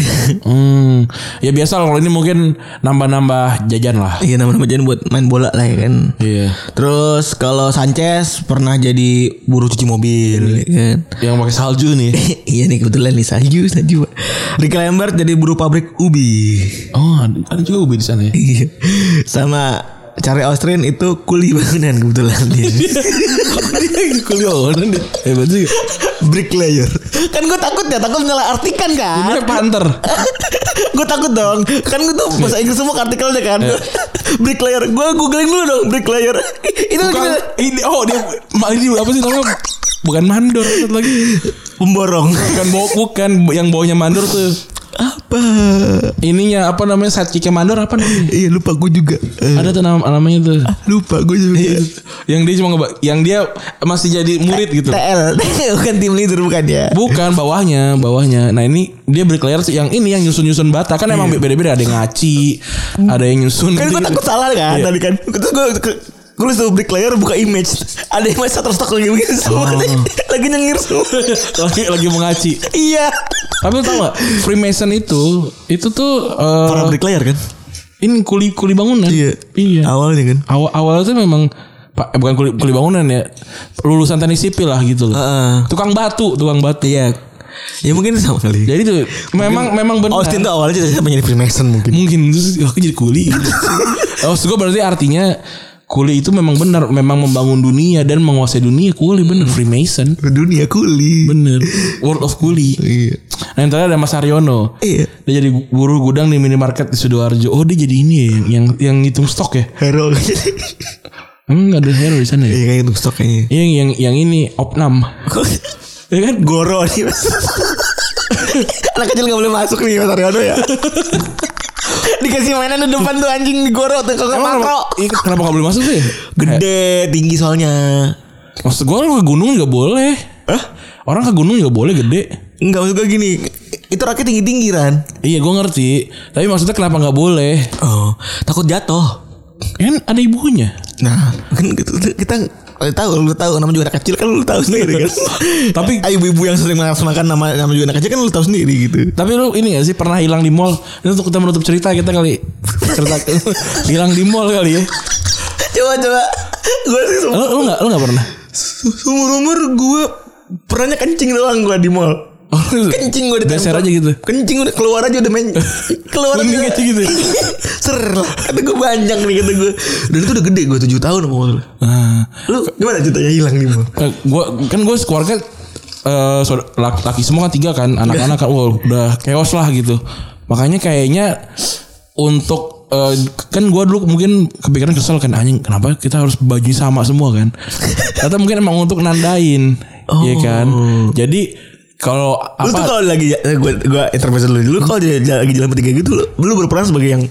S2: hmm. Ya biasa lah kalau ini mungkin nambah-nambah jajan lah.
S3: Iya nama-nama jangan buat main bola lah ya kan.
S2: Iya.
S3: Terus kalau Sanchez pernah jadi buruh cuci mobil ya kan.
S2: Yang pakai salju nih.
S3: <laughs> iya nih kebetulan nih salju salju. Ricky Lambert jadi buruh pabrik ubi.
S2: Oh, ada ada juga ubi di sana ya.
S3: Iya. Sama cari Austrian itu kuli bangunan kebetulan <laughs> dia.
S2: Kuliah orang deh. Hebat juga.
S3: Bricklayer. Kan gue takut ya, takut nyalah artikan kan.
S2: Ini panter.
S3: <laughs> gue takut dong. Kan gue tuh bahasa Inggris semua artikelnya kan. <laughs> bricklayer. Gue googling dulu dong bricklayer. <laughs> itu
S2: Bukan,
S3: gimana?
S2: ini oh dia ma- ini apa sih namanya? Bukan mandor satu lagi.
S3: Pemborong.
S2: Bukan bawa bukan yang bawanya mandor tuh.
S3: <laughs> Apa?
S2: Ininya apa namanya sidekicknya mandor apa namanya?
S3: Iya lupa gue juga. Eh,
S2: Ada tuh nama namanya tuh.
S3: lupa gue juga.
S2: yang dia cuma ngeba- yang dia masih jadi murid gitu.
S3: TL. <laughs> bukan tim leader bukan ya?
S2: Bukan bawahnya, bawahnya. Nah ini dia berkelayar sih yang ini yang nyusun-nyusun bata kan emang beda-beda ada yang ngaci, ada yang nyusun. <laughs>
S3: Kan gue
S2: gitu-gitu.
S3: takut salah kan tadi kan. Terus gue gue tulis tuh bricklayer buka image. Ada image satu stok lagi begini semua. <laughs> Lagi nyengir semua.
S2: lagi lagi mengaci.
S3: iya.
S2: Tapi lu tau gak Freemason itu Itu tuh eh,
S3: Para bricklayer kan?
S2: Ini kuli kuli bangunan Iya
S3: Awalnya kan.
S2: Awal awalnya tuh memang Pak, eh, bukan kuli, kuli bangunan ya lulusan teknik sipil lah gitu loh
S3: Heeh.
S2: tukang batu tukang batu
S3: Ah, Iya. Ya mungkin sama kali.
S2: jadi tuh memang memang benar
S3: Oh, Austin tuh awalnya cita-cita pengen jadi Freemason mungkin.
S2: mungkin terus aku jadi
S3: <laughs>
S2: kuli oh gue berarti artinya kuli itu memang benar memang membangun dunia dan menguasai dunia kuli bener Freemason
S3: Dunia kuli.
S2: bener World of Kuli
S3: Iya.
S2: nah yang terakhir ada Mas Haryono
S3: Iya.
S2: Dia jadi buruh gudang di minimarket di Sidoarjo. Oh, dia jadi ini ya, yang yang, yang ngitung stok ya?
S3: Hero. <laughs>
S2: Emang nggak ada hero di sana ya?
S3: Iya kayak itu stok Iya, kayaknya. <laughs>
S2: Yang yang yang ini opnam. Ya kan?
S3: Goro nih mas. <laughs> Anak kecil gak boleh masuk nih Mas Aryono ya. <laughs> Dikasih mainan di depan tuh anjing digoro tuh kalau nggak
S2: Emang kenapa,
S3: makro.
S2: iya, kenapa gak boleh masuk sih? Kayak,
S3: Gede, tinggi soalnya.
S2: maksud gue ke gunung juga boleh.
S3: Hah?
S2: Orang ke gunung juga boleh gede.
S3: Enggak maksud gue gini. Itu rakit tinggi-tinggi Ran.
S2: Iya gue ngerti. Tapi maksudnya kenapa gak boleh?
S3: Oh, takut jatuh.
S2: Kan ada ibunya.
S3: Nah, kan kita, kita eh, tahu lu tahu nama juga anak kecil kan lu tahu <laughs> sendiri kan.
S2: Tapi-
S3: Ah, ibu-ibu yang sering makan makan nama nama juga anak kecil kan lu tahu sendiri gitu.
S2: Tapi lu ini gak sih pernah hilang di mall? Ini untuk kita menutup cerita kita kali. Cerita <laughs> hilang di mall kali ya.
S3: Coba coba. Gue sih se-
S2: Lu lu gak lu gak pernah?
S3: se- seumur-umur gue pernahnya kencing doang gue di mall. Kencing gue di
S2: Oh, Geser
S3: tembok.
S2: aja gitu.
S3: Kencing udah keluar aja udah <laughs> main. keluar
S2: Mending aja gitu.
S3: <laughs> Ser lah. Kata gue banyak nih kata gue. Dan itu udah gede gue 7 tahun apa nggak salah.
S2: Nah,
S3: Lu gimana ceritanya hilang di mall?
S2: Eh, gua kan gue keluarga eh saudara- laki, laki semua kan tiga kan anak-anak kan wah udah chaos lah gitu makanya kayaknya untuk eh, kan gua dulu mungkin kepikiran kesel kan anjing kenapa kita harus baju sama semua kan atau mungkin emang untuk nandain ya kan jadi kalau
S3: Oh. Lu tuh
S2: apa
S3: kalau lagi eh, gua gua intermezzo dulu dulu kalau dia- dia lagi jalan bertiga gitu lu, lu berperan sebagai yang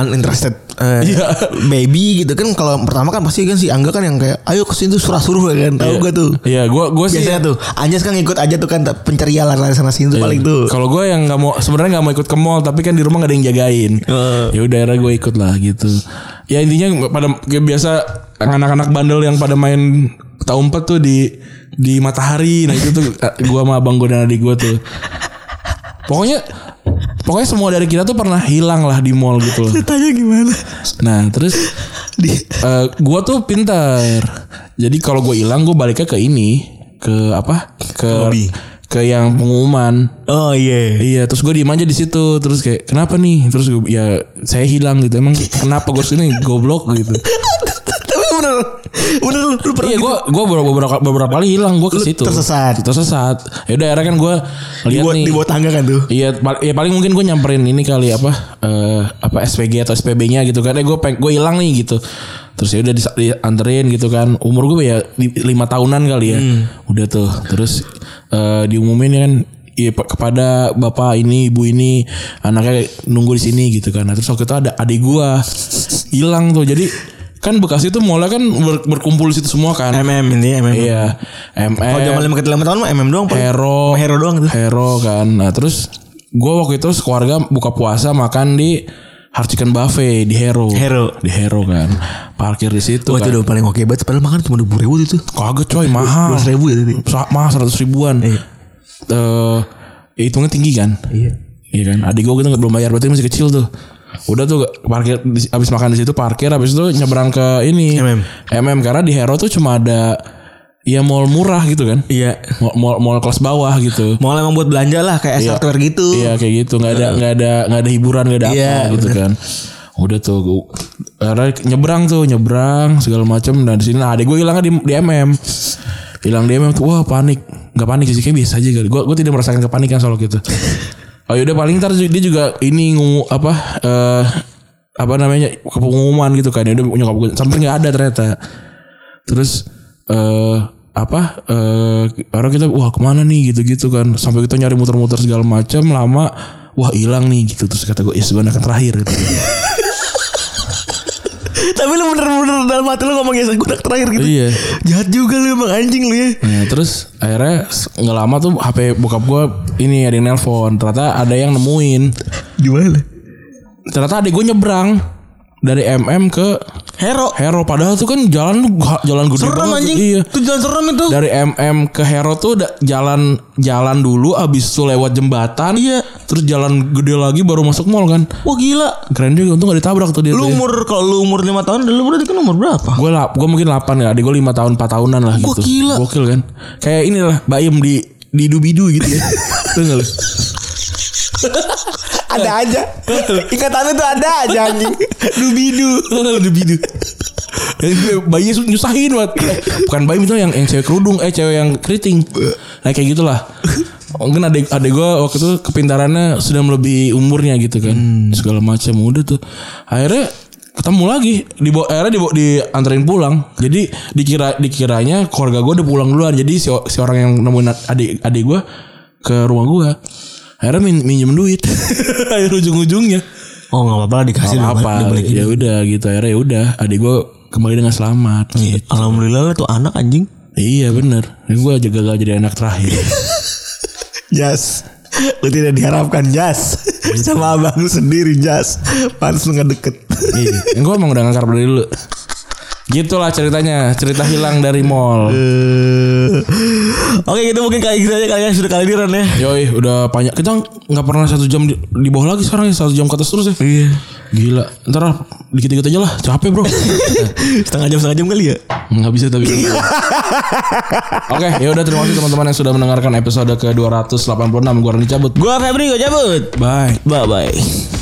S3: uninterested eh,
S2: Iya.
S3: baby gitu kan kalau pertama kan pasti kan si Angga kan yang kayak ayo ke sini tuh surah suruh kan tahu
S2: <laughs>
S3: gua tuh.
S2: Iya, gua gua sih
S3: Biasanya tuh Anjas kan ngikut aja tuh kan penceria lah sana sini tuh paling tuh.
S2: Iya. Kalau gue yang nggak mau sebenarnya nggak mau ikut ke mall tapi kan di rumah nggak ada yang jagain.
S3: Heeh.
S2: Ya udah era gue ikut lah gitu. Ya intinya pada kayak biasa anak-anak bandel yang pada main peta umpet tuh di di matahari nah itu tuh eh, gua sama abang gue dan adik gue tuh. Pokoknya pokoknya semua dari kita tuh pernah hilang lah di mall gitu loh.
S3: Tanya gimana? <laughs>
S2: Nah terus
S3: Di
S2: eh gue tuh pintar. Jadi kalau gue hilang gue baliknya ke ini ke apa ke
S3: Lobby.
S2: ke yang pengumuman.
S3: Oh iya.
S2: Iya, terus gue diem aja di situ, terus kayak kenapa nih? Terus gue ya saya hilang gitu. Emang kenapa gue sini goblok gitu.
S3: Tapi bener. Bener lu, lu <laughs> pernah
S2: Iya
S3: gitu?
S2: gue gue beberapa beberapa kali hilang gue ke
S3: Lu
S2: situ.
S3: tersesat.
S2: Tersesat. Ya udah akhirnya kan gue
S3: di
S2: lihat
S3: bawah,
S2: nih.
S3: di bawah tangga kan tuh.
S2: Iya, pal- ya paling mungkin gue nyamperin ini kali apa eh, apa SPG atau SPB-nya gitu kan. Eh gue peng- gue hilang nih gitu. Terus ya udah dis- dianterin gitu kan. Umur gue ya li- lima tahunan kali ya.
S3: Hmm.
S2: Udah tuh. Terus eh, diumumin kan iya, pe- kepada bapak ini ibu ini anaknya nunggu di sini gitu kan. Nah, terus waktu itu ada adik gue hilang tuh. Jadi kan Bekasi tuh mulai kan ber- berkumpul di situ semua kan.
S3: MM ini MM.
S2: Iya. MM.
S3: Kalau Oh, zaman lima ke lima tahun mah MM doang. Pak.
S2: Hero.
S3: Hero doang tuh.
S2: Hero kan. Nah terus gue waktu itu sekeluarga buka puasa makan di Hard Chicken Buffet di Hero.
S3: Hero.
S2: Di Hero kan. Parkir di situ
S3: Wah itu
S2: kan.
S3: udah paling oke banget. Padahal makan cuma dua ribu itu.
S2: Kaget coy mahal.
S3: Dua Iya. ribu ya tadi.
S2: Sa- Mahal seratus ribuan. Eh ya hitungnya tinggi kan. Iya. Iya kan. Adik gue gitu nggak- belum bayar berarti masih kecil tuh. Udah tuh parkir di- abis makan di situ parkir abis itu nyebrang ke ini
S3: MM.
S2: MM karena di Hero tuh cuma ada ya mall murah gitu kan.
S3: Iya.
S2: Mall, mall, mall kelas bawah gitu.
S3: Mau emang buat belanja lah kayak yeah. hardware gitu.
S2: Iya kayak gitu nggak ada nggak ada nggak ada hiburan nggak ada
S3: Iya,
S2: apa gitu kan. Udah tuh gua- karena nyebrang tuh nyebrang segala macam dan di sini nah adek gue hilangnya di, di MM hilang di MM tuh wah panik nggak panik sih kayak biasa aja kali gue gue tidak merasakan kepanikan soal gitu oh yaudah paling ntar dia juga ini ngu apa eh apa namanya ke pengumuman gitu kan udah nyokap gue sampai nggak ada ternyata terus eh apa eh orang kita wah kemana nih gitu-gitu kan sampai kita nyari muter-muter segala macam lama wah hilang nih gitu terus kata gue is gue anak terakhir
S3: <laughs>
S2: gitu
S3: <laughs> Tapi lu bener-bener dalam hati lu ngomong ya gudak terakhir gitu.
S2: iya
S3: Jahat juga lu emang anjing lu ya.
S2: Nah, terus akhirnya s- nggak lama tuh HP bokap gue ini ada yang nelpon ternyata ada yang nemuin
S3: Gimana?
S2: ternyata adik gue nyebrang dari MM ke
S3: Hero.
S2: Hero padahal tuh kan jalan jalan gede
S3: Serem
S2: banget
S3: anjing.
S2: iya
S3: Itu jalan serem itu.
S2: <laughs> dari MM ke Hero tuh udah jalan jalan dulu abis itu lewat jembatan iya terus jalan gede lagi baru masuk mall kan
S3: Wah gila.
S2: keren juga untung gak ditabrak tuh ya. dia
S3: Lu umur kalau lu umur 5 tahun dulu berarti kan umur berapa?
S2: gue lah gue mungkin 8 ya adik gue 5 tahun 4 tahunan lah gitu
S3: gila.
S2: gokil kan kayak inilah Baim di di dubidu gitu
S3: <laughs>
S2: ya Tuh gak lu
S3: Ada aja. <laughs> Ikatannya tuh ada aja <laughs> anjing. Dubidu.
S2: <laughs> dubidu bayinya su- nyusahin banget Eh, bukan Baim itu yang yang cewek kerudung eh cewek yang keriting nah kayak gitulah Oh, mungkin adik adik gue waktu itu kepintarannya sudah melebihi umurnya gitu kan segala macam udah tuh akhirnya ketemu lagi di akhirnya dibawa dianterin pulang jadi dikira dikiranya keluarga gue udah pulang duluan jadi si, o- si orang yang nemuin adik adik gue ke rumah gue akhirnya min, minjem duit <laughs> akhir ujung ujungnya
S3: Oh enggak apa-apa lah dikasih
S2: Gak
S3: dulu,
S2: apa ya udah gitu akhirnya ya udah adik gue kembali dengan selamat
S3: Iya. Alhamdulillah lah tuh anak anjing.
S2: iya bener gue aja gagal jadi anak terakhir
S3: Jas. Lu tidak diharapkan Jas. Sama abang lu sendiri Jas. Pantes lu nggak deket.
S2: <laughs> iya gue emang udah ngangkar dari dulu gitulah ceritanya cerita hilang dari mall
S3: Eh, <laughs> Oke gitu mungkin kayak gitu aja kalian sudah kali ini Ron ya.
S2: yoi udah banyak kita nggak pernah satu jam di, di bawah lagi sekarang ya satu jam ke atas terus ya
S3: Iya.
S2: gila ntar lah, dikit-dikit aja lah capek <laughs> bro
S3: Setengah jam setengah jam kali ya.
S2: nggak bisa <laughs> tapi oke ya udah terima kasih teman-teman yang sudah mendengarkan episode ke 286 gue Rani cabut
S3: Gua Febri gua cabut.
S2: bye
S3: Bye bye.